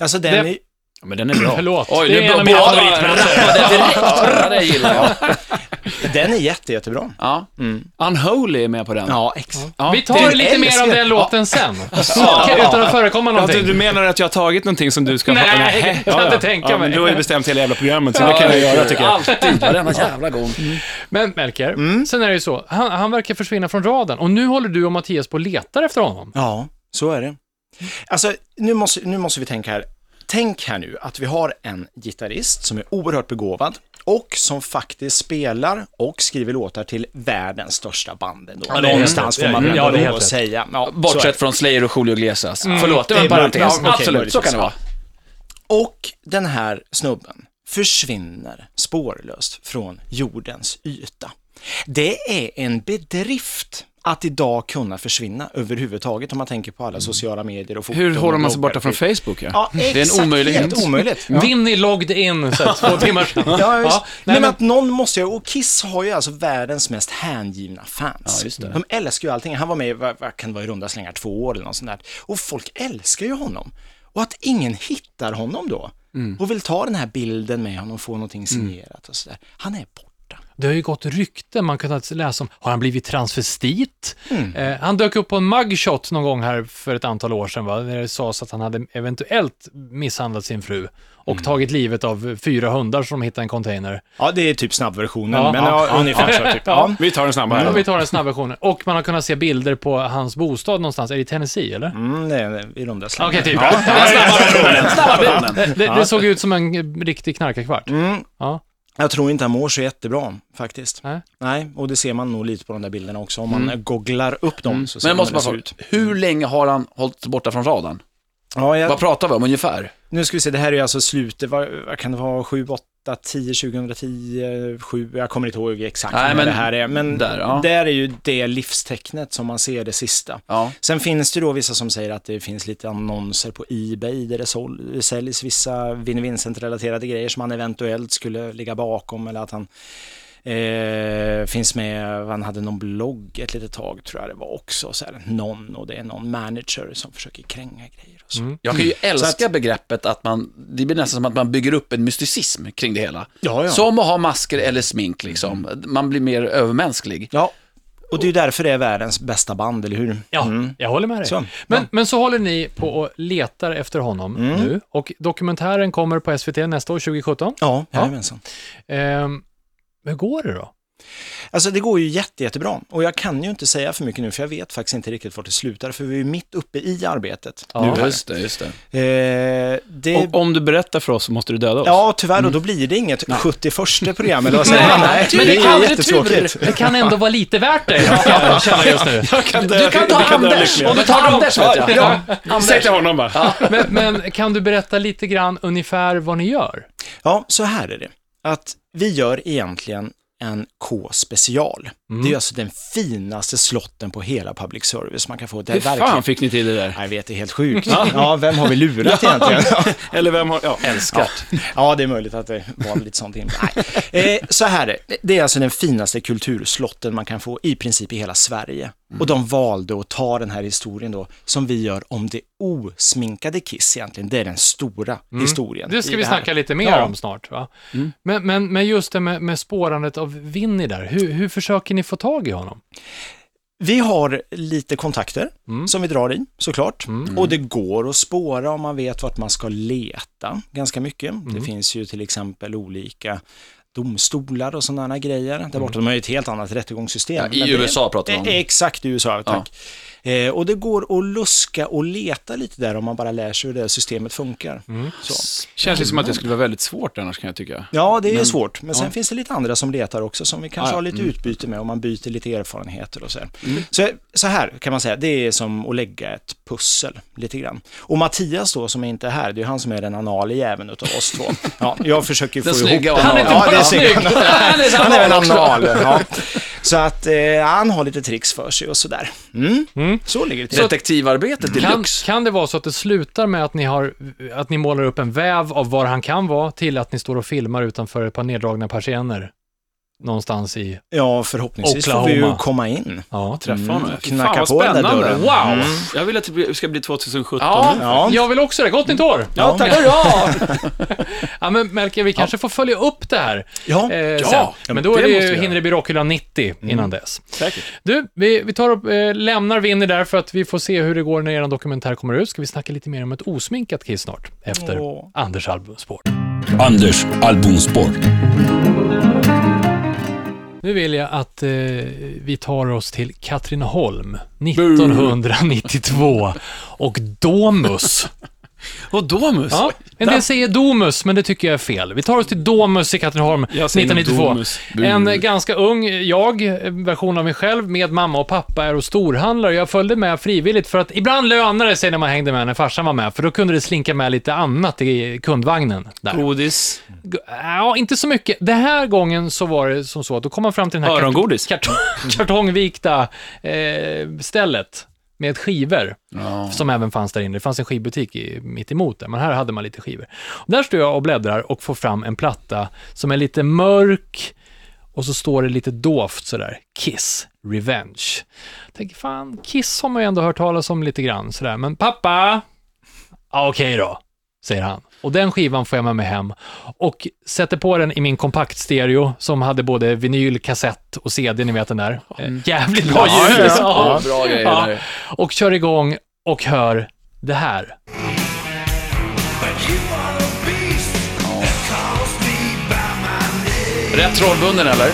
Speaker 6: Alltså den
Speaker 2: Det-
Speaker 6: är,
Speaker 3: Ja, men den är bra.
Speaker 2: Förlåt,
Speaker 4: Oj,
Speaker 2: det
Speaker 4: nu
Speaker 2: är en
Speaker 4: börjar-
Speaker 2: av mina
Speaker 4: Ja,
Speaker 2: favoritplattor.
Speaker 4: det direkt. Ja, det gillar jag.
Speaker 6: den är jätte, jättebra.
Speaker 4: Ja.
Speaker 3: Unholy är med på den.
Speaker 6: Ja, ex.
Speaker 3: Ja,
Speaker 2: Vi tar
Speaker 6: det-
Speaker 2: lite mer om
Speaker 6: älskar-
Speaker 2: den låten sen. Okej, Utan att förekomma
Speaker 3: Ja, du,
Speaker 2: någonting.
Speaker 3: du menar att jag har tagit någonting som du ska
Speaker 2: Nej,
Speaker 3: ha?
Speaker 2: jag kan inte tänka
Speaker 3: ja,
Speaker 2: mig.
Speaker 3: men Du har ju bestämt hela jävla programmet, så det kan jag göra tycker jag.
Speaker 4: Alltid, varenda jävla gång.
Speaker 2: Men Melker, sen är det ju så, han, han verkar försvinna från raden och nu håller du och Mattias på och letar efter honom.
Speaker 6: Ja, så är det. Alltså, nu måste, nu måste vi tänka här. Tänk här nu att vi har en gitarrist som är oerhört begåvad och som faktiskt spelar och skriver låtar till världens största band ändå.
Speaker 2: det är helt
Speaker 6: Någonstans
Speaker 2: rätt.
Speaker 6: får man väl
Speaker 2: Ja, det är helt
Speaker 6: lov att
Speaker 2: rätt.
Speaker 6: säga. Ja, så är det.
Speaker 4: Bortsett från Slayer och Julio Iglesias. Mm. Förlåt, det var
Speaker 6: Det
Speaker 4: en
Speaker 6: är möjligt.
Speaker 4: parentes.
Speaker 6: Ja, okej,
Speaker 4: Absolut, så
Speaker 6: möjligtvis.
Speaker 4: kan det vara.
Speaker 6: Och den här snubben försvinner spårlöst från jordens yta. Det är en bedrift att idag kunna försvinna överhuvudtaget om man tänker på alla sociala medier och foton.
Speaker 3: Hur håller man sig
Speaker 6: och
Speaker 3: borta från
Speaker 6: bloggar.
Speaker 3: Facebook? Ja?
Speaker 6: Ja, exakt, det är en omöjlighet. Mm. Helt omöjligt. Ja.
Speaker 2: Vinny logged in så här, två timmar sedan.
Speaker 6: Ja, just,
Speaker 2: nej,
Speaker 6: men,
Speaker 2: men-
Speaker 6: att någon måste göra, och Kiss har ju alltså världens mest hängivna fans.
Speaker 4: Ja, just det.
Speaker 6: De älskar ju allting. Han var med, i, vad, vad kan det vara, i runda slängar två år eller något sånt där. Och folk älskar ju honom. Och att ingen hittar honom då och vill ta den här bilden med honom och få någonting signerat och sådär. Han är borta.
Speaker 2: Det har ju gått rykten man kunnat läsa om. Har han blivit transvestit? Eh, han dök upp på en mugshot någon gång här för ett antal år sedan, va? där det sades att han hade eventuellt misshandlat sin fru och tagit livet av fyra hundar som de hittade i en container.
Speaker 6: Ja, det är typ snabbversionen,
Speaker 2: Ja,
Speaker 6: men
Speaker 2: ja,
Speaker 6: ja, ungefär så typ. Ja.
Speaker 3: Vi tar den snabba
Speaker 2: Om vi
Speaker 3: här.
Speaker 2: tar den snabba versionen. Och man har kunnat se bilder på hans bostad någonstans. Är det i Tennessee, eller?
Speaker 6: Mm, nej, nej, i runda slängar.
Speaker 2: Okej, typ. Ja. Det, det, det såg ut som en riktig knarkarkvart.
Speaker 6: Mm.
Speaker 2: Ja.
Speaker 6: Jag tror inte han mår så jättebra faktiskt.
Speaker 2: Nej.
Speaker 6: Nej, och det ser man nog lite på de där bilderna också. Om man googlar upp dem så ser
Speaker 4: Men jag
Speaker 6: man
Speaker 4: måste
Speaker 6: hur det
Speaker 4: bara
Speaker 6: ser
Speaker 4: fråga,
Speaker 6: ut.
Speaker 4: hur länge har han hållit sig borta från radarn?
Speaker 6: Ja, jag,
Speaker 4: Vad pratar vi om ungefär?
Speaker 6: Nu ska vi se, det här är ju alltså slutet, vad, vad kan det vara, 7, 8, 10, 2010, 7, jag kommer inte ihåg exakt
Speaker 4: Nej,
Speaker 6: när
Speaker 4: men
Speaker 6: det här är, men
Speaker 4: där, ja.
Speaker 6: där är ju det livstecknet som man ser det sista.
Speaker 4: Ja.
Speaker 6: Sen finns det ju då vissa som säger att det finns lite annonser på Ebay där det sål- säljs vissa Vinnie Vincent-relaterade grejer som han eventuellt skulle ligga bakom eller att han eh, finns med, han hade någon blogg ett litet tag tror jag det var också, så här, någon och det är någon manager som försöker kränga grejer och så.
Speaker 4: Jag kan ju
Speaker 6: Så
Speaker 4: älska begreppet att man, det blir nästan som att man bygger upp en mysticism kring det hela.
Speaker 6: Ja, ja.
Speaker 4: Som att ha masker eller smink liksom. Man blir mer övermänsklig.
Speaker 6: Ja, Och det är ju därför det är världens bästa band, eller hur?
Speaker 2: Ja,
Speaker 6: Mm.
Speaker 2: jag håller med dig.
Speaker 6: Så.
Speaker 2: Men, men så håller ni på och letar efter honom nu och dokumentären kommer på SVT nästa år, 2017.
Speaker 6: Ja, jajamensan.
Speaker 2: Ehm, hur går det då?
Speaker 6: Alltså det går ju jätte, jättebra. Och jag kan ju inte säga för mycket nu, för jag vet faktiskt inte riktigt vart det slutar, för vi är ju mitt uppe i arbetet.
Speaker 2: Ja.
Speaker 6: nu.
Speaker 4: Just det, just det.
Speaker 6: Eh, det...
Speaker 3: Och om du berättar för oss så måste du döda oss.
Speaker 6: Ja, tyvärr, och då blir det inget 71 program, eller vad säger man? Mm. Nej,
Speaker 2: men
Speaker 6: men
Speaker 2: det
Speaker 6: det
Speaker 2: är
Speaker 6: är ju
Speaker 2: aldrig
Speaker 6: jättetråkigt.
Speaker 2: Det kan ändå vara lite värt det, kan jag känna just nu.
Speaker 4: Du kan ta Anders! Om du tar Anders vet jag.
Speaker 2: Ja.
Speaker 3: Säg till honom bara.
Speaker 2: Men, men kan du berätta lite grann ungefär vad ni gör? Mm.
Speaker 6: Ja, så här är det. Att vi gör egentligen en K-special. Det är alltså den finaste slotten på hela public service man kan få. Det är
Speaker 3: Hur fan fick ni till det där?
Speaker 6: Ja, Jag vet, det är helt sjukt. Ja, vem har vi lurat egentligen?
Speaker 3: Eller vem har... Ja.
Speaker 6: Älskat. Ja. ja, det är möjligt att det var lite sånt in. Nej. Eh, så här är det. Det är alltså den finaste kulturslotten man kan få i princip i hela Sverige. Och de valde att ta den här historien då, som vi gör om det osminkade Kiss egentligen. Det är den stora historien.
Speaker 2: Mm. Det
Speaker 6: i
Speaker 2: ska vi
Speaker 6: här.
Speaker 2: snacka lite mer
Speaker 6: Ja. Mm.
Speaker 2: om snart. Va? Men, men, men just det med, med spårandet av Vinny där, hur, hur försöker ni få tag i honom?
Speaker 6: Vi har lite kontakter
Speaker 4: Mm.
Speaker 6: som vi drar i såklart. Och det går att spåra om man vet vart man ska leta ganska mycket.
Speaker 4: Mm.
Speaker 6: Det finns ju till exempel olika domstolar och sådana grejer. Där borta, de har ju ett helt annat rättegångssystem.
Speaker 4: Mm. Ja, i
Speaker 6: Men det-
Speaker 4: USA pratar vi om.
Speaker 6: Eh, Exakt, i USA, tack. Eh, och det går att luska och leta lite där om man bara lär sig hur det här systemet funkar. Så.
Speaker 3: Känns lite som att det skulle vara väldigt svårt annars kan jag tycka.
Speaker 6: Ja, Mm. det är ju svårt. Men sen finns det lite andra som letar också som vi kanske har lite utbyte med och man byter lite erfarenheter och så här. så. Så här kan man säga, det är som att lägga ett pussel lite grann. Och Mattias då som inte är här, det är ju han som är den anale jäveln utav oss två. Ja, jag försöker få
Speaker 4: Den
Speaker 6: ihop
Speaker 4: snygga
Speaker 6: dem.
Speaker 4: analen.
Speaker 6: Ja, det är snygg.
Speaker 4: Han är så
Speaker 6: Han är väl
Speaker 4: också.
Speaker 6: anal. Ja. Så att eh, han har lite tricks för sig och sådär. Mm. Så ligger det till.
Speaker 4: Detektivarbetet
Speaker 2: Kan,
Speaker 4: deluxe.
Speaker 2: kan det vara så att det slutar med att ni, har, att ni målar upp en väv av var han kan vara till att ni står och filmar utanför ett par neddragna persienner? Någonstans i...
Speaker 6: Ja, förhoppningsvis får vi ju
Speaker 2: Oklahoma.
Speaker 6: komma in.
Speaker 2: Ja.
Speaker 3: Träffa honom. Fy fan,
Speaker 6: knacka
Speaker 3: vad
Speaker 6: på den där
Speaker 3: spännande.
Speaker 6: dörren.
Speaker 3: Wow! Jag vill att det blir- ska bli 2017.
Speaker 4: Ja.
Speaker 6: Ja.
Speaker 2: Jag vill också det. Gott nytt år!
Speaker 6: Ja, tack.
Speaker 2: Hurra! ja, men Melker, vi kanske får följa upp det här.
Speaker 6: Ja.
Speaker 2: Eh,
Speaker 6: Ja,
Speaker 2: sen.
Speaker 6: men
Speaker 2: Men då
Speaker 6: det
Speaker 2: är det
Speaker 6: måste vi
Speaker 2: ju
Speaker 6: göra. Mm.
Speaker 2: hinner det bli Rockhyllan 90 innan dess.
Speaker 3: Säkert.
Speaker 2: Du, vi, vi tar upp, eh, lämnar Winnie där för att vi får se hur det går när er dokumentär kommer ut. Ska vi snacka lite mer om ett osminkat Kiss snart, efter
Speaker 6: Åh.
Speaker 2: Anders albumspår.
Speaker 1: Anders albumspår.
Speaker 2: Nu vill jag att eh, vi tar oss till Katrineholm 1992 och Domus.
Speaker 3: Och Domus.
Speaker 2: Ja, en del säger Domus, men det tycker jag är fel. Vi tar oss till Domus i Katrineholm
Speaker 3: Jag säger
Speaker 2: 1992.
Speaker 3: Domus.
Speaker 2: En eh, ganska ung jag, eh, version av mig själv, med mamma och pappa är och storhandlar. Jag följde med frivilligt för att ibland lönade det sig när man hängde med när farsan var med, för då kunde det slinka med lite annat i kundvagnen. Där.
Speaker 3: Godis.
Speaker 2: Ja, inte så mycket. Den här gången så var det som så att då kom man fram till den här kart-
Speaker 3: Örongodis.
Speaker 2: kartong, kartongvikta eh, stället med skivor som även fanns där inne. Det fanns en skivbutik i, mitt emot där, men här hade man lite skivor. Och där står jag och bläddrar och får fram en platta som är lite mörk och så står det lite dovt sådär, Kiss, Revenge. Jag tänker, fan, Kiss har man ju ändå hört talas om lite grann sådär, men pappa, ja okej då, säger han. Och den skivan får jag med mig hem och sätter på den i min kompaktstereo som hade både vinyl, kassett och CD, ni vet den där. Eh, Jävligt bra
Speaker 6: Ja,
Speaker 2: ljud!
Speaker 6: ja, ja.
Speaker 2: Ja.
Speaker 4: Bra grejer
Speaker 2: Ja.
Speaker 4: där.
Speaker 2: Och kör igång och hör det här.
Speaker 4: Rätt rollbunden eller?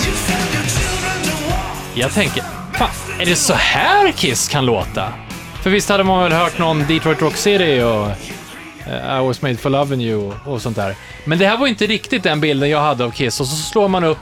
Speaker 2: Jag tänker, fan, är det så här Kiss kan låta? För visst hade man väl hört någon Detroit Rock City och eh, I was made for loving you och, och sånt där. Men det här var inte riktigt den bilden jag hade av Kiss och så slår man upp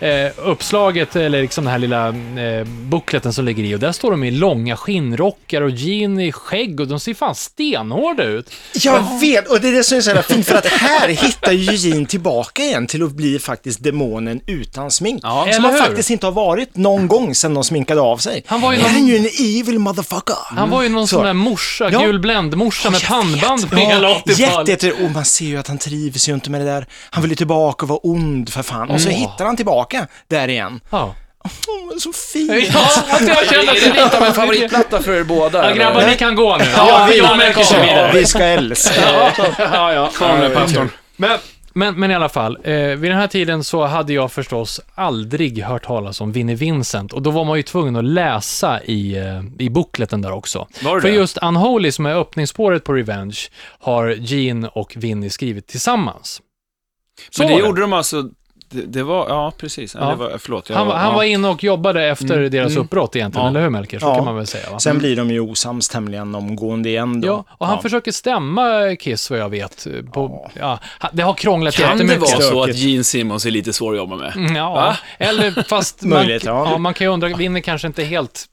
Speaker 2: eh, uppslaget, eller liksom den här lilla eh, bukleten som ligger i och där står de i långa skinnrockar och jean i skägg och de ser fan stenhårda ut.
Speaker 6: Jag vet, och det är det som är så jävla fint, för att här hittar ju Eugene tillbaka igen till att bli faktiskt demonen utan smink.
Speaker 2: Ja,
Speaker 6: som
Speaker 2: eller
Speaker 6: han
Speaker 2: hur?
Speaker 6: faktiskt inte har varit någon gång sedan de sminkade av sig.
Speaker 2: Han var ju
Speaker 6: Här är
Speaker 2: någon-
Speaker 6: han ju en evil motherfucker.
Speaker 2: Han var ju någon
Speaker 6: Mm. Så.
Speaker 2: sån där morsa,
Speaker 6: Ja.
Speaker 2: gul bländmorsa med pannband på hela
Speaker 6: Ja,
Speaker 2: 80-talet.
Speaker 6: jätte, jätte, och man ser ju att han trivs ju inte med det där. Han vill ju tillbaka och vara ond för fan. Och så hittar han tillbaka där igen.
Speaker 2: Ja.
Speaker 6: Åh, så fint.
Speaker 2: Ja, alltså, jag känner att det är lite av en favorit.
Speaker 4: Favoritplatta för er båda?
Speaker 2: Ja, grabbar, ni kan gå nu.
Speaker 6: Ja,
Speaker 2: jag märker
Speaker 6: vi,
Speaker 2: sig vidare.
Speaker 6: vi ska älska.
Speaker 2: Ja, ja, kom nu pastorn. Men, Men, men i alla fall, eh, vid den här tiden så hade jag förstås aldrig hört talas om Vinnie Vincent och då var man ju tvungen att läsa i, eh, i bookleten där också.
Speaker 7: Var det
Speaker 2: För
Speaker 7: det?
Speaker 2: just Unholy, som är öppningsspåret på Revenge, har Gene och Vinnie skrivit tillsammans. Så
Speaker 3: Men det
Speaker 2: var det.
Speaker 3: gjorde de alltså, det, det var, ja precis. Ja.
Speaker 2: Ja.
Speaker 3: Det var, förlåt. jag
Speaker 2: Han, han
Speaker 3: ja.
Speaker 2: var inne och jobbade efter deras
Speaker 3: Mm.
Speaker 2: uppbrott egentligen,
Speaker 3: Ja.
Speaker 2: eller hur Melker? Så
Speaker 6: Ja.
Speaker 2: kan man väl säga. Va?
Speaker 6: Sen blir de ju osams tämligen omgående igen då.
Speaker 2: Ja, och han försöker stämma Kiss vad jag vet. På, ja. det har krånglat
Speaker 7: Kan det
Speaker 2: jättemycket.
Speaker 7: vara så att
Speaker 6: Stökigt.
Speaker 7: Gene Simmons är lite svår att jobba med?
Speaker 2: Ja, eller fast man,
Speaker 6: Möjligt, ja.
Speaker 2: ja. man kan ju undra, vinner kanske inte helt...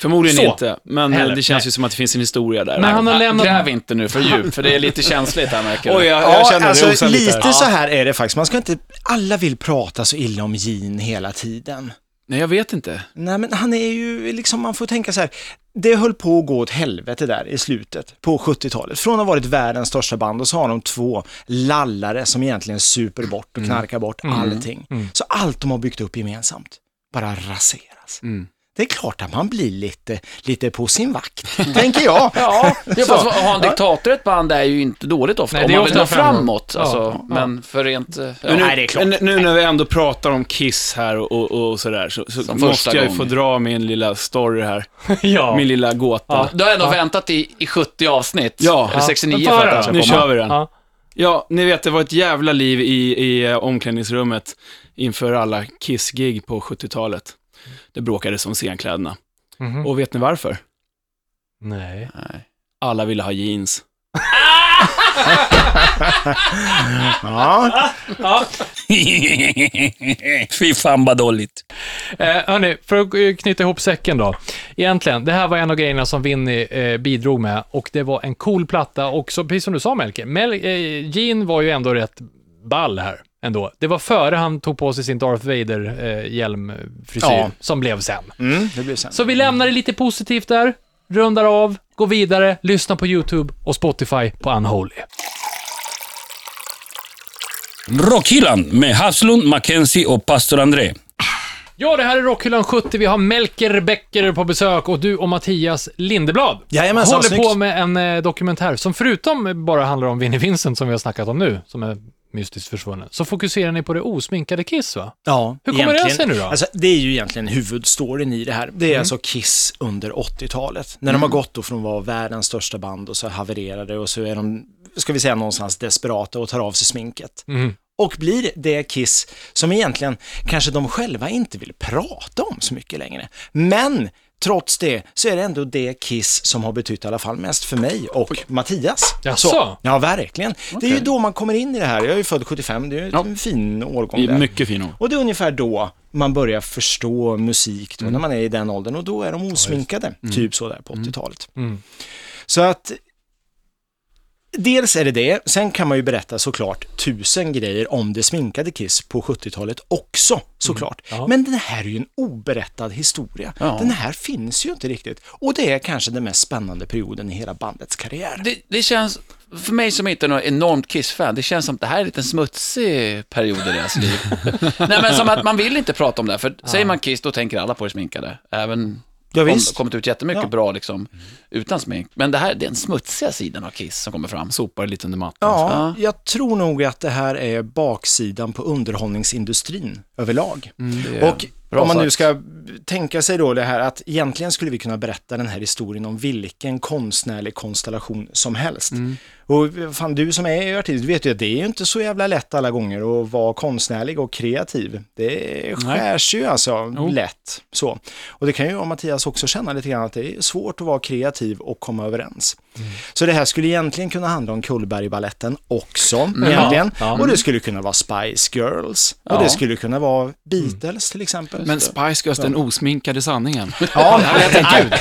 Speaker 3: Förmodligen
Speaker 2: Så.
Speaker 3: inte, men eh,
Speaker 2: Heller.
Speaker 3: det känns
Speaker 2: Nej.
Speaker 3: ju som att det finns en historia där.
Speaker 2: Men han har
Speaker 4: Ah,
Speaker 2: lämnat...
Speaker 4: Gräv inte nu för djupt, för det är lite känsligt här märker du.
Speaker 7: Oj, jag, jag
Speaker 6: Ja,
Speaker 7: känner det
Speaker 6: alltså
Speaker 7: osar lite.
Speaker 6: lite
Speaker 7: här.
Speaker 6: så här är det faktiskt. Man ska inte, alla vill prata så illa om Jean hela tiden.
Speaker 3: Nej, jag vet inte.
Speaker 6: Nej, men han är ju liksom, man får tänka så här. Det höll på att gå åt helvete där i slutet på 70-talet. Från att ha varit världens största band och så har de två lallare som egentligen super bort
Speaker 7: Mm.
Speaker 6: och knarkar bort allting. Så allt de har byggt upp gemensamt bara raseras.
Speaker 7: Mm.
Speaker 6: Det är klart att man blir lite, lite på sin vakt, tänker jag.
Speaker 4: Ja, det är
Speaker 6: Så.
Speaker 4: fast att ha en diktator i ett band är ju inte dåligt ofta.
Speaker 2: Nej,
Speaker 4: om
Speaker 2: det är
Speaker 4: man vill
Speaker 2: ofta
Speaker 4: nå
Speaker 2: framåt.
Speaker 4: framåt,
Speaker 2: Ja,
Speaker 4: alltså,
Speaker 2: ja.
Speaker 4: men för rent... eh, Ja.
Speaker 3: Men nu,
Speaker 6: nej, det är klart.
Speaker 3: men nu när vi ändå pratar om Kiss här och, och, och sådär, så, så
Speaker 4: Som
Speaker 3: måste
Speaker 4: första
Speaker 3: jag ju
Speaker 4: gången.
Speaker 3: få dra min lilla story här.
Speaker 2: ja.
Speaker 3: Min lilla gåta.
Speaker 2: Ja.
Speaker 3: Ja,
Speaker 4: Du har ändå väntat i, i 70 avsnitt.
Speaker 3: Ja.
Speaker 4: Eller 69
Speaker 2: Ja,
Speaker 4: för
Speaker 2: men
Speaker 4: att den ska
Speaker 3: nu
Speaker 4: komma.
Speaker 3: kör vi den.
Speaker 2: Ja.
Speaker 3: ni vet, det var ett jävla liv i, i eh, omklädningsrummet inför alla Kiss-gig på 70-talet. Det bråkades om scenkläderna.
Speaker 2: Mhm.
Speaker 3: Och vet ni varför?
Speaker 2: Nej.
Speaker 3: Alla ville ha jeans.
Speaker 6: Ja,
Speaker 1: Fy fan vad dåligt.
Speaker 2: Eh, hörni, för att eh, knyta ihop säcken då. Egentligen, det här var en av grejerna som Vinny eh, bidrog med och det var en cool platta och så, precis som du sa Melker, Mel, eh, Gene var ju ändå rätt ball här ändå. Det var före han tog på sig sin Darth Vader-hjälmfrisyr
Speaker 6: Ja.
Speaker 2: som blev sen.
Speaker 6: mm, det blir sen.
Speaker 2: Så vi lämnar det lite positivt där, rundar av, går vidare, lyssnar på YouTube och Spotify på Unholy.
Speaker 1: Rockhyllan med Havslund, Mackenzie och pastor André.
Speaker 2: Ja, det här är Rockhyllan 70. Vi har Melker Becker på besök och du och Mattias Lindeblad
Speaker 6: Jajamensan,
Speaker 2: håller
Speaker 6: snyggt.
Speaker 2: på med en eh, dokumentär som förutom bara handlar om Vinnie Vincent som vi har snackat om nu, som är mystiskt försvunnen, så fokuserar ni på det osminkade Kiss va?
Speaker 6: Ja,
Speaker 2: Hur kommer det
Speaker 6: egentligen-
Speaker 2: sig nu då? Mm.
Speaker 6: Alltså, det är ju egentligen huvudstoryn i det här. Det är alltså Kiss under 80-talet. När de har gått då från att vara världens största band och så havererade och så är de, ska vi säga någonstans, desperata och tar av sig sminket.
Speaker 2: Mm.
Speaker 6: Och blir det Kiss som egentligen kanske de själva inte vill prata om så mycket längre. Men trots det så är det ändå det Kiss som har betytt i alla fall mest för mig och Mattias.
Speaker 2: Jaså?
Speaker 6: Så, ja, verkligen. Det är ju då man kommer in i det här. Jag är ju född 75, det är ju en fin årgång där.
Speaker 3: Mycket fin hon.
Speaker 6: Och det är ungefär då man börjar förstå musik, då, när man är i den åldern, och då är de osminkade, typ så där på 80-talet. Så att, dels är det det, sen kan man ju berätta såklart tusen grejer om det sminkade Kiss på 70-talet också, såklart. Men den här är ju en oberättad historia. Den här finns ju inte riktigt. Och det är kanske den mest spännande perioden i hela bandets karriär.
Speaker 4: Det, det känns, för mig som inte är någon enormt Kiss-fan, det känns som att det här är en liten smutsig period i deras liv. Nej men som att man vill inte prata om det här, för säger man Kiss då tänker alla på det sminkade. Även
Speaker 6: Ja,
Speaker 4: om det
Speaker 6: visst.
Speaker 4: har kommit ut jättemycket
Speaker 6: Ja.
Speaker 4: bra liksom, utan smink. Men det här, det är den smutsiga sidan av Kiss som kommer fram.
Speaker 3: Sopar lite under mattan.
Speaker 6: Ja, jag tror nog att det här är baksidan på underhållningsindustrin överlag. och
Speaker 4: Mm, bra
Speaker 6: om man nu
Speaker 4: sagt.
Speaker 6: ska tänka sig då det här att egentligen skulle vi kunna berätta den här historien om vilken konstnärlig konstellation som helst.
Speaker 4: Mm.
Speaker 6: Och fan, du som är artist, du vet ju att det är ju inte så jävla lätt alla gånger att vara konstnärlig och kreativ. Det skärs ju alltså lätt så. Och det kan ju jag och Mattias också känna lite grann att det är svårt att vara kreativ och komma överens. Så det här skulle egentligen kunna handla om Cullbergbaletten också, egentligen. Och det skulle kunna vara Spice Girls. Och det skulle kunna vara Beatles till exempel.
Speaker 3: Men Spice Girls, den osminkade sanningen.
Speaker 6: ja, jag tänker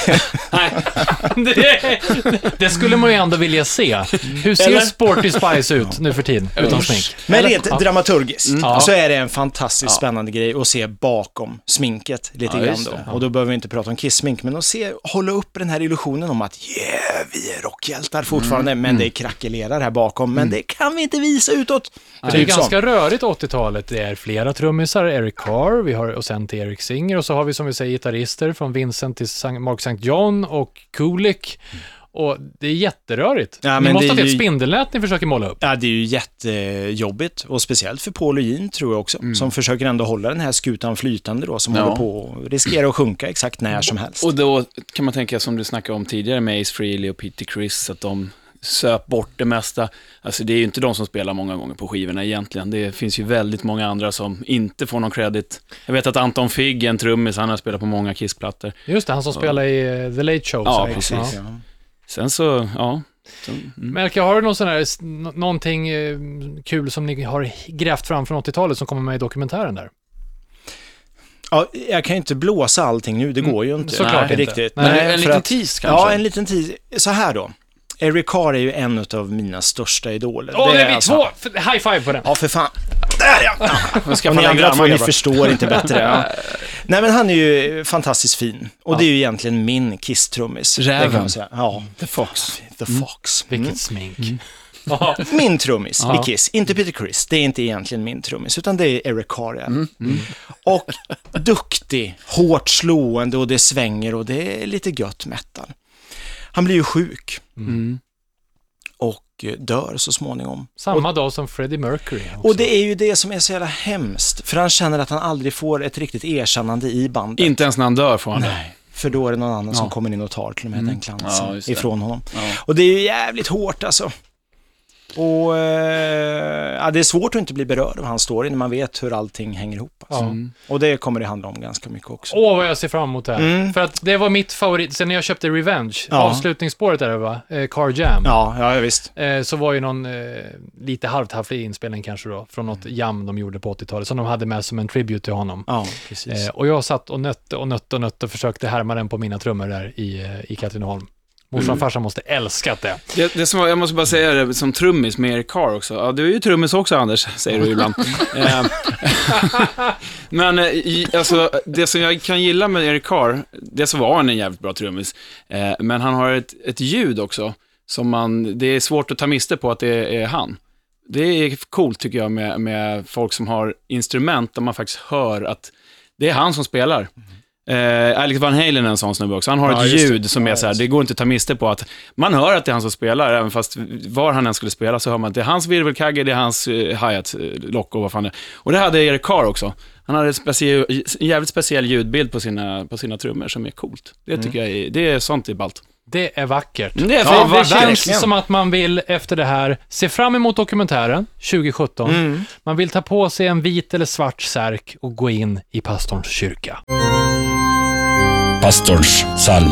Speaker 2: det, det skulle man ju ändå vilja se. Hur ser Sporty Spice ut nu för tiden, utan smink?
Speaker 6: Men
Speaker 2: Eller?
Speaker 6: rent
Speaker 2: Ja. Mm.
Speaker 6: dramaturgiskt
Speaker 2: Ja.
Speaker 6: så är det en fantastiskt spännande grej att se bakom sminket lite
Speaker 4: Ja,
Speaker 6: grann
Speaker 4: just
Speaker 6: då.
Speaker 4: det.
Speaker 6: Och då behöver vi inte prata om kissmink, men att se, hålla upp den här illusionen om att yeah, vi är rockhjältar fortfarande,
Speaker 2: Mm.
Speaker 6: men det krackelerar här bakom, men det kan vi inte visa utåt. Typ
Speaker 2: Det är ganska rörigt 80-talet. Det är flera trummisar, Eric Carr, vi har, och sen till Eric Singer och så har vi som vi säger gitarrister från Vincent till Sank- Mark St. John och Kulik. Och det är jätterörigt.
Speaker 6: Ja,
Speaker 2: ni
Speaker 6: men
Speaker 2: måste
Speaker 6: det
Speaker 2: ha
Speaker 6: är
Speaker 2: ett
Speaker 6: ju-
Speaker 2: spindelnät ni försöker måla upp.
Speaker 6: Ja, det är ju jättejobbigt och speciellt för Paul och Jean tror jag också,
Speaker 2: Mm.
Speaker 6: som försöker ändå hålla den här skutan flytande då, som
Speaker 4: Ja.
Speaker 6: håller på och riskerar att sjunka exakt när som helst.
Speaker 3: Och då kan man tänka, som du snackade om tidigare med Ace Frehley och Pete Chris, att de söp bort det mesta. Alltså det är ju inte de som spelar många gånger på skivorna egentligen. Det finns ju väldigt många andra som inte får någon credit. Jag vet att Anton Figg, en trummis, han har spelat på många Kiss-plattor.
Speaker 2: Just det, han som spelar i eh, The Late Show.
Speaker 3: Ja,
Speaker 2: säkert.
Speaker 3: precis.
Speaker 2: Ja.
Speaker 3: Sen så, ja.
Speaker 6: Mm.
Speaker 2: Melke, har du någon sån här, s- nå- någonting eh, kul som ni har grävt fram från 80-talet som kommer med i dokumentären där?
Speaker 6: Ja, jag kan ju inte blåsa allting nu, det går ju inte.
Speaker 2: Mm. såklart inte.
Speaker 6: riktigt.
Speaker 2: Nej,
Speaker 4: en
Speaker 6: för
Speaker 4: liten
Speaker 6: att-
Speaker 4: tease kanske?
Speaker 6: Ja, en liten tid. Så här då. Eric Carr är ju en av mina största idoler.
Speaker 2: Åh,
Speaker 6: Det
Speaker 2: nej,
Speaker 6: är
Speaker 2: vi
Speaker 6: alltså-
Speaker 2: två! F- High five på den.
Speaker 6: Ja, för fan. Där ja!
Speaker 3: Men ska
Speaker 6: Och
Speaker 3: fan
Speaker 6: ni andra
Speaker 3: grabbar,
Speaker 6: två, ni
Speaker 3: grabbar.
Speaker 6: förstår inte bättre. Ja. Nej, men han är ju fantastiskt fin. Och det är ju egentligen min Kiss-trummis. Det kan
Speaker 3: Räven.
Speaker 6: man säga. Ja. The Fox. The Fox. Mm.
Speaker 2: Vilket smink. Ja,
Speaker 6: Min trummis
Speaker 2: Ja.
Speaker 6: i Kiss, inte Peter Chris, det är inte egentligen min trummis, utan det är Eric Carr. Och duktig, hårt slående och det svänger och det är lite gött metal. Han blir ju sjuk
Speaker 3: Mm.
Speaker 6: och eh, dör så småningom.
Speaker 2: samma dag som Freddie Mercury. också.
Speaker 6: Och det är ju det som är så jävla hemskt, för han känner att han aldrig får ett riktigt erkännande i bandet.
Speaker 3: Inte ens när han dör får han det.
Speaker 6: För då är det någon annan som kommer in och tar till och med den glansen
Speaker 4: Mm. Ja, just det.
Speaker 6: ifrån honom.
Speaker 4: Ja.
Speaker 6: Och det är ju jävligt hårt alltså. Och eh, ja, det är svårt att inte bli berörd av hans story när man vet hur allting hänger ihop. Alltså. Och det kommer det handla om ganska mycket också.
Speaker 2: Åh, vad jag ser fram emot det här.
Speaker 6: Mm.
Speaker 2: För att det var mitt favorit, sen när jag köpte Revenge,
Speaker 6: Ja.
Speaker 2: avslutningsspåret där va, eh, Car Jam,
Speaker 6: Ja, ja visst.
Speaker 2: eh, så var ju någon eh, lite halvtafflig inspelning kanske då, från något jam de gjorde på 80-talet, som de hade med som en tribute till honom.
Speaker 6: Mm. Ja, precis.
Speaker 2: Eh, och jag satt och nötte och nötte och nötte och försökte härma den på mina trummor där i, eh, i Katrineholm. Morsan
Speaker 6: Mm.
Speaker 2: och farsan måste älskat det.
Speaker 3: Det, det som, var- jag måste bara säga det, som trummis med Eric Carr också. Ja, du är ju trummis också Anders, säger du ibland. Eh, Men eh, i- alltså, det som jag kan gilla med Eric Carr, det så var han en jävligt bra trummis, eh, men han har ett, ett ljud också som man, det är svårt att ta miste på att det är han. Det är coolt tycker jag med, med folk som har instrument där man faktiskt hör att det är han som spelar. Eh, Alex Van Halen är en sån snubbe också. Han har
Speaker 6: Ja,
Speaker 3: ett
Speaker 6: just det.
Speaker 3: ljud som är
Speaker 6: Ja,
Speaker 3: så här,
Speaker 6: just
Speaker 3: det går inte att ta miste på att man hör att det är han som spelar, även fast var han än skulle spela så hör man att det är hans virvelkagge, det är hans eh, hi-hat, eh, lock och vad fan det är. Och det hade Eric Carr också. Han hade en, speciell, en jävligt speciell ljudbild på sina, på sina trummor som är coolt. Det tycker
Speaker 6: Mm.
Speaker 3: jag är, det är sånt i ballt.
Speaker 2: Det är vackert.
Speaker 3: Det är
Speaker 2: Ja,
Speaker 3: fan
Speaker 2: det
Speaker 3: vackert.
Speaker 2: känns som att man vill efter det här se fram emot dokumentären 2017.
Speaker 6: Mm.
Speaker 2: Man vill ta på sig en vit eller svart särk och gå in i pastorns kyrka.
Speaker 1: Pastorns psalm.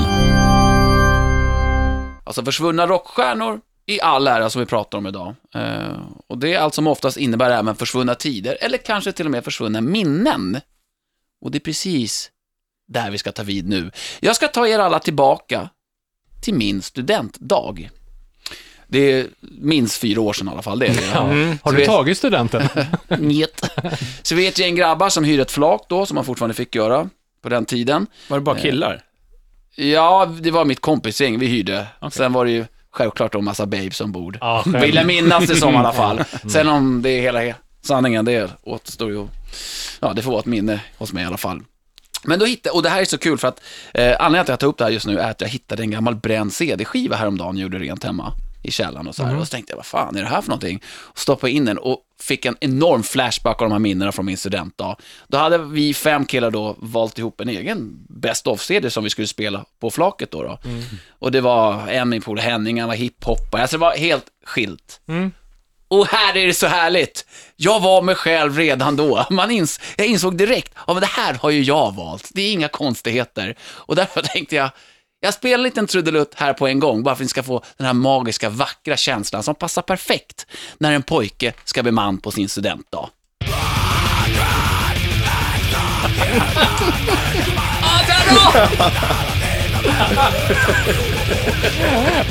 Speaker 4: Alltså försvunna rockstjärnor i all ära som vi pratar om idag. Eh, och det är allt som oftast innebär även försvunna tider, eller kanske till och med försvunna minnen. Och det är precis där vi ska ta vid nu. Jag ska ta er alla tillbaka till min studentdag. Det är minst fyra år sedan i alla fall, det är det.
Speaker 2: Ja. Har
Speaker 4: Så
Speaker 2: du
Speaker 4: vi-
Speaker 2: tagit studenten?
Speaker 4: Njet. Så vi är ett gäng grabbar som hyr ett flak då, som man fortfarande fick göra på den tiden.
Speaker 3: Var det bara
Speaker 6: Eh.
Speaker 3: killar?
Speaker 4: Ja, det var mitt kompisgäng vi hyrde. Sen var det ju självklart då massa babes ombord.
Speaker 2: Ja, själv.
Speaker 4: Vill jag minnas det som i alla fall. Sen om det är hela sanningen, det återstår ju. Ja, det får vara ett minne hos mig i alla fall. Men då hittade, och det här är så kul för att eh, anledningen till att jag tar upp det här just nu är att jag hittade en gammal bränd CD-skiva häromdagen jag gjorde rent hemma i källaren och så här. Och så tänkte jag, vad fan är det här för någonting? Och stoppade in den och fick en enorm flashback av de här minnena från min studentdag. Då hade vi fem killar då valt ihop en egen Best of-CD som vi skulle spela på flaket då. då. Och det var en min polare Henning, han var hiphoppare, alltså det var helt skilt. Och här är det så härligt. Jag var mig själv redan då. Man ins jag insåg direkt, ja men det här har ju jag valt. Det är inga konstigheter. Och därför tänkte jag, jag spelar en liten trudelutt här på en gång, bara för att ni ska få den här magiska, vackra känslan som passar perfekt när en pojke ska bli man på sin studentdag. Ah, där då!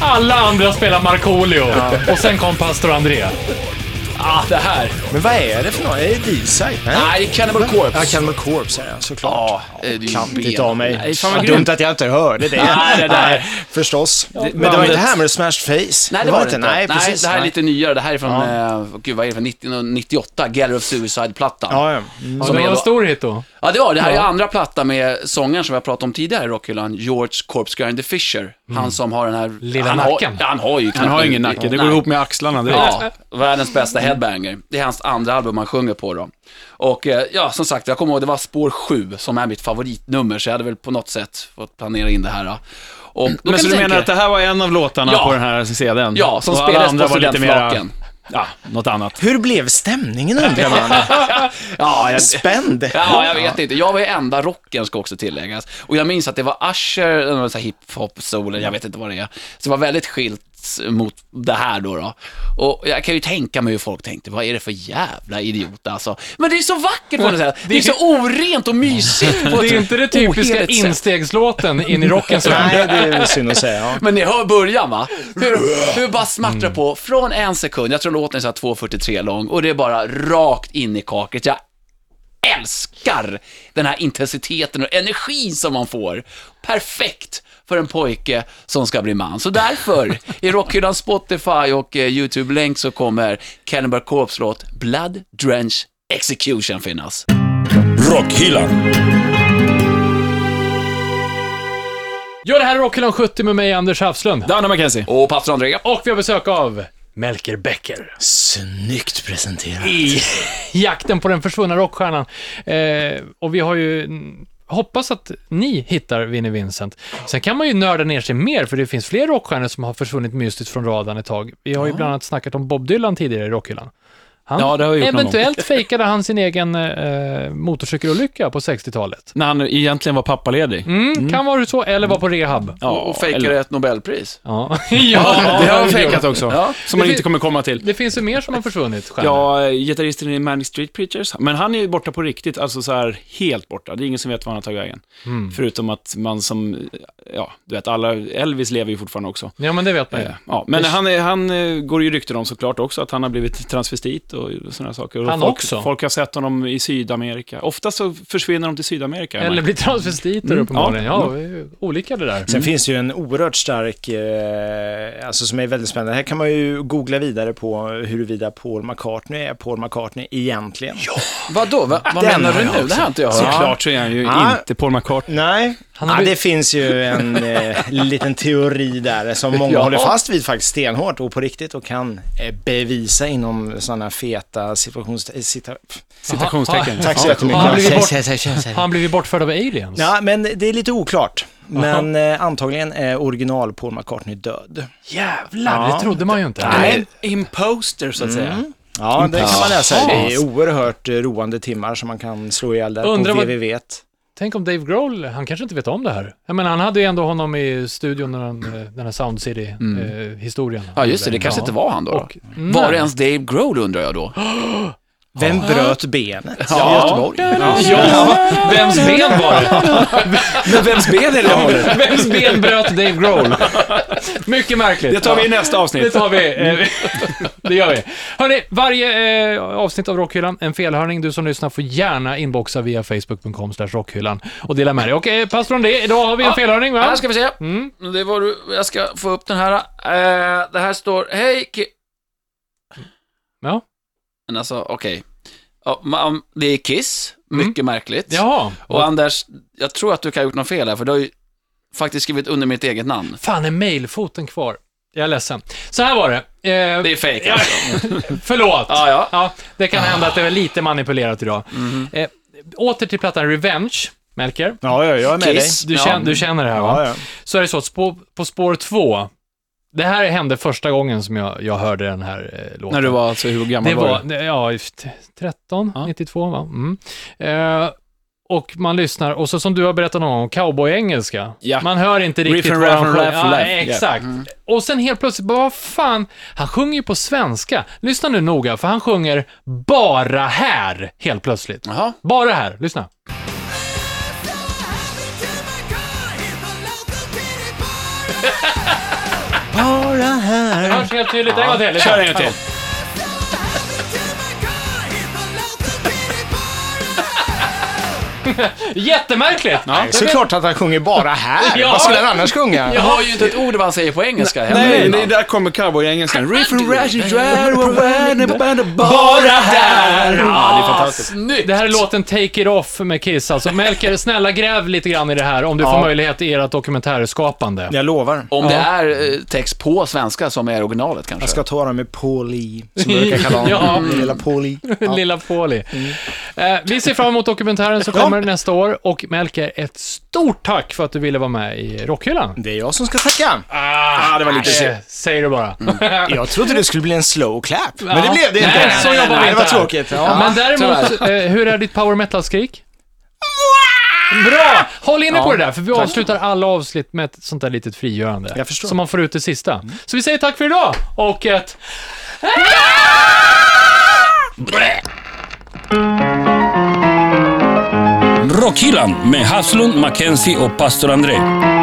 Speaker 2: Alla andra spelar Markoolio och sen kom pastor André.
Speaker 4: Ah, det här.
Speaker 6: Men vad är det för något? Är det D-side?
Speaker 4: Nej, det är Cannibal
Speaker 6: Ja,
Speaker 4: Corpse.
Speaker 6: Cannibal Corpse är det såklart.
Speaker 4: Ja, det är ju
Speaker 6: Klantigt
Speaker 4: ben.
Speaker 6: av mig.
Speaker 4: Nej, fan vad
Speaker 6: dumt att jag inte hörde det.
Speaker 4: Nej, det där.
Speaker 6: Förstås. men det var inte Hammer Smash Face.
Speaker 4: Nej, det var det inte.
Speaker 6: Nej, precis.
Speaker 4: det här är lite nyare. Det här är från, eh, gud vad är det, från 1998, Gallery of Suicide-plattan.
Speaker 6: Ja, ja. Mm.
Speaker 2: Ja,
Speaker 4: Som
Speaker 2: det
Speaker 4: är
Speaker 2: var en
Speaker 4: då-
Speaker 2: stor hit då.
Speaker 4: Ja, det var det. här är andra plattan med sångaren som jag pratade om tidigare i Rockhyllan, George Corpse Grinder Fisher. Han som har den här...
Speaker 2: Lilla
Speaker 4: han
Speaker 2: nacken.
Speaker 4: Har, han har ju knappt
Speaker 3: Mm. Han har
Speaker 4: en-
Speaker 3: ingen nacke, det går
Speaker 4: Nej.
Speaker 3: ihop med axlarna direkt.
Speaker 4: Ja, världens bästa headbanger. Det är hans andra album han sjunger på då. Och eh, ja, som sagt, jag kommer ihåg det var spår 7 som är mitt favoritnummer, så jag hade väl på något sätt fått planera in det här. Då. Och då
Speaker 3: Men
Speaker 4: kan
Speaker 3: så
Speaker 4: jag
Speaker 3: du
Speaker 4: tänka-
Speaker 3: menar att det här var en av låtarna
Speaker 4: Ja.
Speaker 3: på den här CDn?
Speaker 4: Ja, som
Speaker 3: Och alla
Speaker 4: spelades
Speaker 3: andra
Speaker 4: på
Speaker 3: var lite mera-
Speaker 4: studentflaken.
Speaker 3: Ja, något annat.
Speaker 6: Hur blev stämningen undrar man?
Speaker 4: Ja, jag,
Speaker 6: Spänd.
Speaker 4: ja, jag vet inte. Jag var ju enda rocken, ska också tilläggas. Och jag minns att det var Usher, någon sån här hiphop, soul, jag vet inte vad det är. Så det var väldigt skilt mot det här då, då. Och jag kan ju tänka mig hur folk tänkte, vad är det för jävla idiot alltså. Men det är så vackert på något sätt. Det är så orent och mysigt på
Speaker 2: Det är
Speaker 4: ett
Speaker 2: inte den typiska
Speaker 4: oheligt sätt.
Speaker 2: instegslåten in i rockens värld.
Speaker 6: Nej, det är synd att säga. Ja.
Speaker 4: Men ni hör början va? Hur, hur bara smattrar det på från en sekund, jag tror låten är så här 2.43 lång och det är bara rakt in i kaklet. Jag älskar den här intensiteten och energin som man får. Perfekt för en pojke som ska bli man. Så därför, i rockhyllan Spotify och eh, YouTube-länk så kommer Cannibal Corpse låt Blood Drench Execution finnas.
Speaker 1: Rockhyllan.
Speaker 2: Ja, det här är Rockhyllan 70 med mig, Anders Hafslund.
Speaker 3: Danne McKenzie.
Speaker 4: Och pastor André.
Speaker 2: Och vi har besök av Melker Becker.
Speaker 6: Snyggt presenterat.
Speaker 2: i jakten på den försvunna rockstjärnan. Eh, och vi har ju mm, hoppas att ni hittar Vinnie Vincent. Sen kan man ju nörda ner sig mer, för det finns fler rockstjärnor som har försvunnit mystiskt från radarn ett tag. Vi har ju bland annat snackat om Bob Dylan tidigare i rockhyllan. Han,
Speaker 3: Ja, det har vi gjort någon
Speaker 2: eventuellt fejkade han sin egen eh, motorcykelolycka på 60-talet.
Speaker 3: När han egentligen var pappaledig.
Speaker 2: Mm, Kan vara så, eller var på rehab.
Speaker 3: Ja,
Speaker 4: Och fejkar
Speaker 3: eller-
Speaker 4: ett Nobelpris.
Speaker 2: Ja,
Speaker 3: Ja,
Speaker 2: ja
Speaker 3: det har han fejkat också.
Speaker 4: Ja.
Speaker 3: Som man
Speaker 2: Det
Speaker 3: inte
Speaker 2: fin-
Speaker 3: kommer komma till.
Speaker 2: Det finns ju mer som har försvunnit, stjärnor.
Speaker 3: Ja, gitarristen i Manic Street Preachers, men han är ju borta på riktigt, alltså så här helt borta. Det är ingen som vet var han har tagit vägen. Förutom att man som, ja, du vet, alla, Elvis lever ju fortfarande också.
Speaker 2: ja, men det vet man ju.
Speaker 3: Eh, Ja, men han, är, han eh, går ju rykten om såklart också att han har blivit transvestit och sådana saker. Och
Speaker 2: Han
Speaker 3: folk,
Speaker 2: också?
Speaker 3: Folk har sett honom i Sydamerika. Ofta så försvinner de till Sydamerika.
Speaker 2: Eller
Speaker 3: Mike.
Speaker 2: blir transvestiter
Speaker 3: Mm,
Speaker 2: uppenbarligen.
Speaker 3: ja.
Speaker 2: Ja, det är ju olika det där.
Speaker 4: Mm.
Speaker 6: Sen finns det ju en oerhört stark, eh, alltså som är väldigt spännande. Här kan man ju googla vidare på huruvida Paul McCartney är Paul McCartney egentligen.
Speaker 4: Vadå? Va, vad
Speaker 6: Den
Speaker 4: menar
Speaker 6: har
Speaker 4: du
Speaker 6: jag
Speaker 4: nu? Det här Ah, har inte jag hört.
Speaker 3: Såklart så är han ju
Speaker 2: Ah.
Speaker 6: Ja.
Speaker 3: inte Paul McCartney.
Speaker 6: Nej,
Speaker 2: har
Speaker 6: ja,
Speaker 2: ju-
Speaker 6: det finns ju en eh, liten teori där som många
Speaker 4: Ja.
Speaker 6: håller fast vid faktiskt stenhårt och på riktigt och kan eh, bevisa inom sådana feta situations... eh, Cita...
Speaker 3: Citationstecken.
Speaker 2: Ja.
Speaker 6: Tack så
Speaker 2: Har han, blivit
Speaker 6: jättemycket.
Speaker 2: bort... har han blivit bortförd av aliens?
Speaker 6: Ja, men det är lite oklart. Men eh, antagligen är original Paul McCartney död.
Speaker 2: Jävlar, det trodde man ju inte.
Speaker 3: Nej, imposter så att säga.
Speaker 2: Mm.
Speaker 6: Mm. Ja, det kan man läsa.
Speaker 2: Jaha.
Speaker 6: Det är oerhört eh, roande timmar som man kan slå ihjäl där
Speaker 2: Undrar
Speaker 6: på
Speaker 2: vad-
Speaker 6: www.
Speaker 2: Tänk om Dave Grohl, han kanske inte vet om det här. Jag menar, han hade ju ändå honom i studion när han, eh, den här Sound City-historien.
Speaker 4: Mm. Ja, just det. Det kanske inte var han då.
Speaker 2: Och-
Speaker 4: då. Var det ens Dave Grohl undrar jag då?
Speaker 6: Vem bröt benet?
Speaker 4: Ja. Göteborg.
Speaker 2: Vems ben var det?
Speaker 3: Men vems ben är det?
Speaker 2: Vems ben bröt Dave Grohl? Mycket märkligt.
Speaker 3: Det tar vi i nästa
Speaker 2: Det
Speaker 3: avsnitt.
Speaker 2: tar vi.
Speaker 4: Mm.
Speaker 2: Eh, det gör vi. Hörrni, varje eh, avsnitt av Rockhyllan, en felhörning. Du som lyssnar får gärna inboxa via facebook.com slash rockhyllan och dela med dig. Och eh, pastor André, idag har vi en
Speaker 4: Ja,
Speaker 2: felhörning va? Mm.
Speaker 4: Här ska vi se. Det var du. Jag ska få upp den här. Eh, det här står, hej ki-"
Speaker 2: Ja.
Speaker 4: Men alltså, okej. Ja, man- det är Kiss, mycket märkligt.
Speaker 2: Jaha.
Speaker 4: Och Anders, jag tror att du kan ha gjort något fel här, för du har ju faktiskt skrivit under mitt eget namn.
Speaker 2: Fan, är mailfoten kvar? Jag är ledsen. Så här var det. Eh,
Speaker 4: Det är fejk alltså.
Speaker 2: Förlåt.
Speaker 4: Ja, ja. Mhm.
Speaker 2: Ja, det kan hända att det var lite manipulerat idag. Eh, åter till plattan Revenge, Melker.
Speaker 6: Ja, ja, jag är med
Speaker 4: Kiss.
Speaker 2: Du,
Speaker 4: Ja.
Speaker 2: känner, du känner det här
Speaker 6: dig.
Speaker 2: va?
Speaker 6: Ja, ja.
Speaker 2: så är det så att spå, på spår två, det här hände första gången som jag, jag hörde den här eh, låten.
Speaker 3: När du var alltså, hur gammal
Speaker 2: det
Speaker 3: var,
Speaker 2: var,
Speaker 3: du?
Speaker 2: det- ja, i t- 13,
Speaker 3: Ja.
Speaker 2: 92 va? Mm. Eh, och man lyssnar, och så som du har berättat någon gång, cowboy-engelska.
Speaker 3: Ja.
Speaker 2: Man hör inte
Speaker 3: Riff
Speaker 2: riktigt
Speaker 3: and
Speaker 2: vad
Speaker 3: raff
Speaker 2: han
Speaker 3: and
Speaker 2: sjunger.
Speaker 3: raff Mm. and
Speaker 2: Ja,
Speaker 3: laff. Yeah.
Speaker 2: exakt. Och sen helt plötsligt, bara, vad fan, han sjunger ju på svenska. Lyssna nu noga, för han sjunger bara här, helt plötsligt.
Speaker 4: Jaha.
Speaker 2: Bara här, lyssna.
Speaker 6: Bara
Speaker 2: Det
Speaker 6: här.
Speaker 2: hörs helt tydligt, en gång till. lyssna.
Speaker 3: Kör en gång till.
Speaker 2: Jättemärkligt!
Speaker 6: Nej, Såklart att han sjunger bara här.
Speaker 2: Ja.
Speaker 6: Vad skulle han annars sjunga?
Speaker 4: Jag har ju inte ett ord vad han säger på engelska heller.
Speaker 3: Nej,
Speaker 4: innan.
Speaker 3: nej, där kommer cowboyengelskan. Riff and rash and dry,
Speaker 4: Bara här! Ja, det är fantastiskt.
Speaker 2: Det här är låten Take It Off med Kiss alltså. Melker, snälla gräv lite grann i det här om du får möjlighet i ert dokumentärskapande.
Speaker 6: Jag lovar.
Speaker 4: Om det är eh, text på svenska som är originalet kanske.
Speaker 6: Jag ska ta dem med Pauli, som jag brukar kalla honom.
Speaker 2: Ja.
Speaker 6: Mm. Lilla Pauli. Ja. Mm.
Speaker 2: Lilla Pauli. Eh, vi ser fram emot dokumentären som kommer nästa år. Och Melker, ett stort tack för att du ville vara med i Rockhyllan.
Speaker 6: Det är jag som ska tacka.
Speaker 2: Ah, det var lite eh, Säger du bara.
Speaker 6: Mm. Jag trodde det skulle bli en slow clap, men det blev det inte.
Speaker 2: Nej, så jobbar vi
Speaker 6: Nej, Det
Speaker 2: inte
Speaker 6: var
Speaker 2: här.
Speaker 6: tråkigt. Ja.
Speaker 2: Men däremot, eh, hur är ditt power metal-skrik? Bra! Håll inne på det där, för vi avslutar alla avsnitt med ett sånt där litet frigörande.
Speaker 6: Jag förstår. Mm.
Speaker 2: Så man får ut det sista. Så vi säger tack för idag, och ett...
Speaker 1: Rockhyllan med Haslund, Mackenzie och pastor André.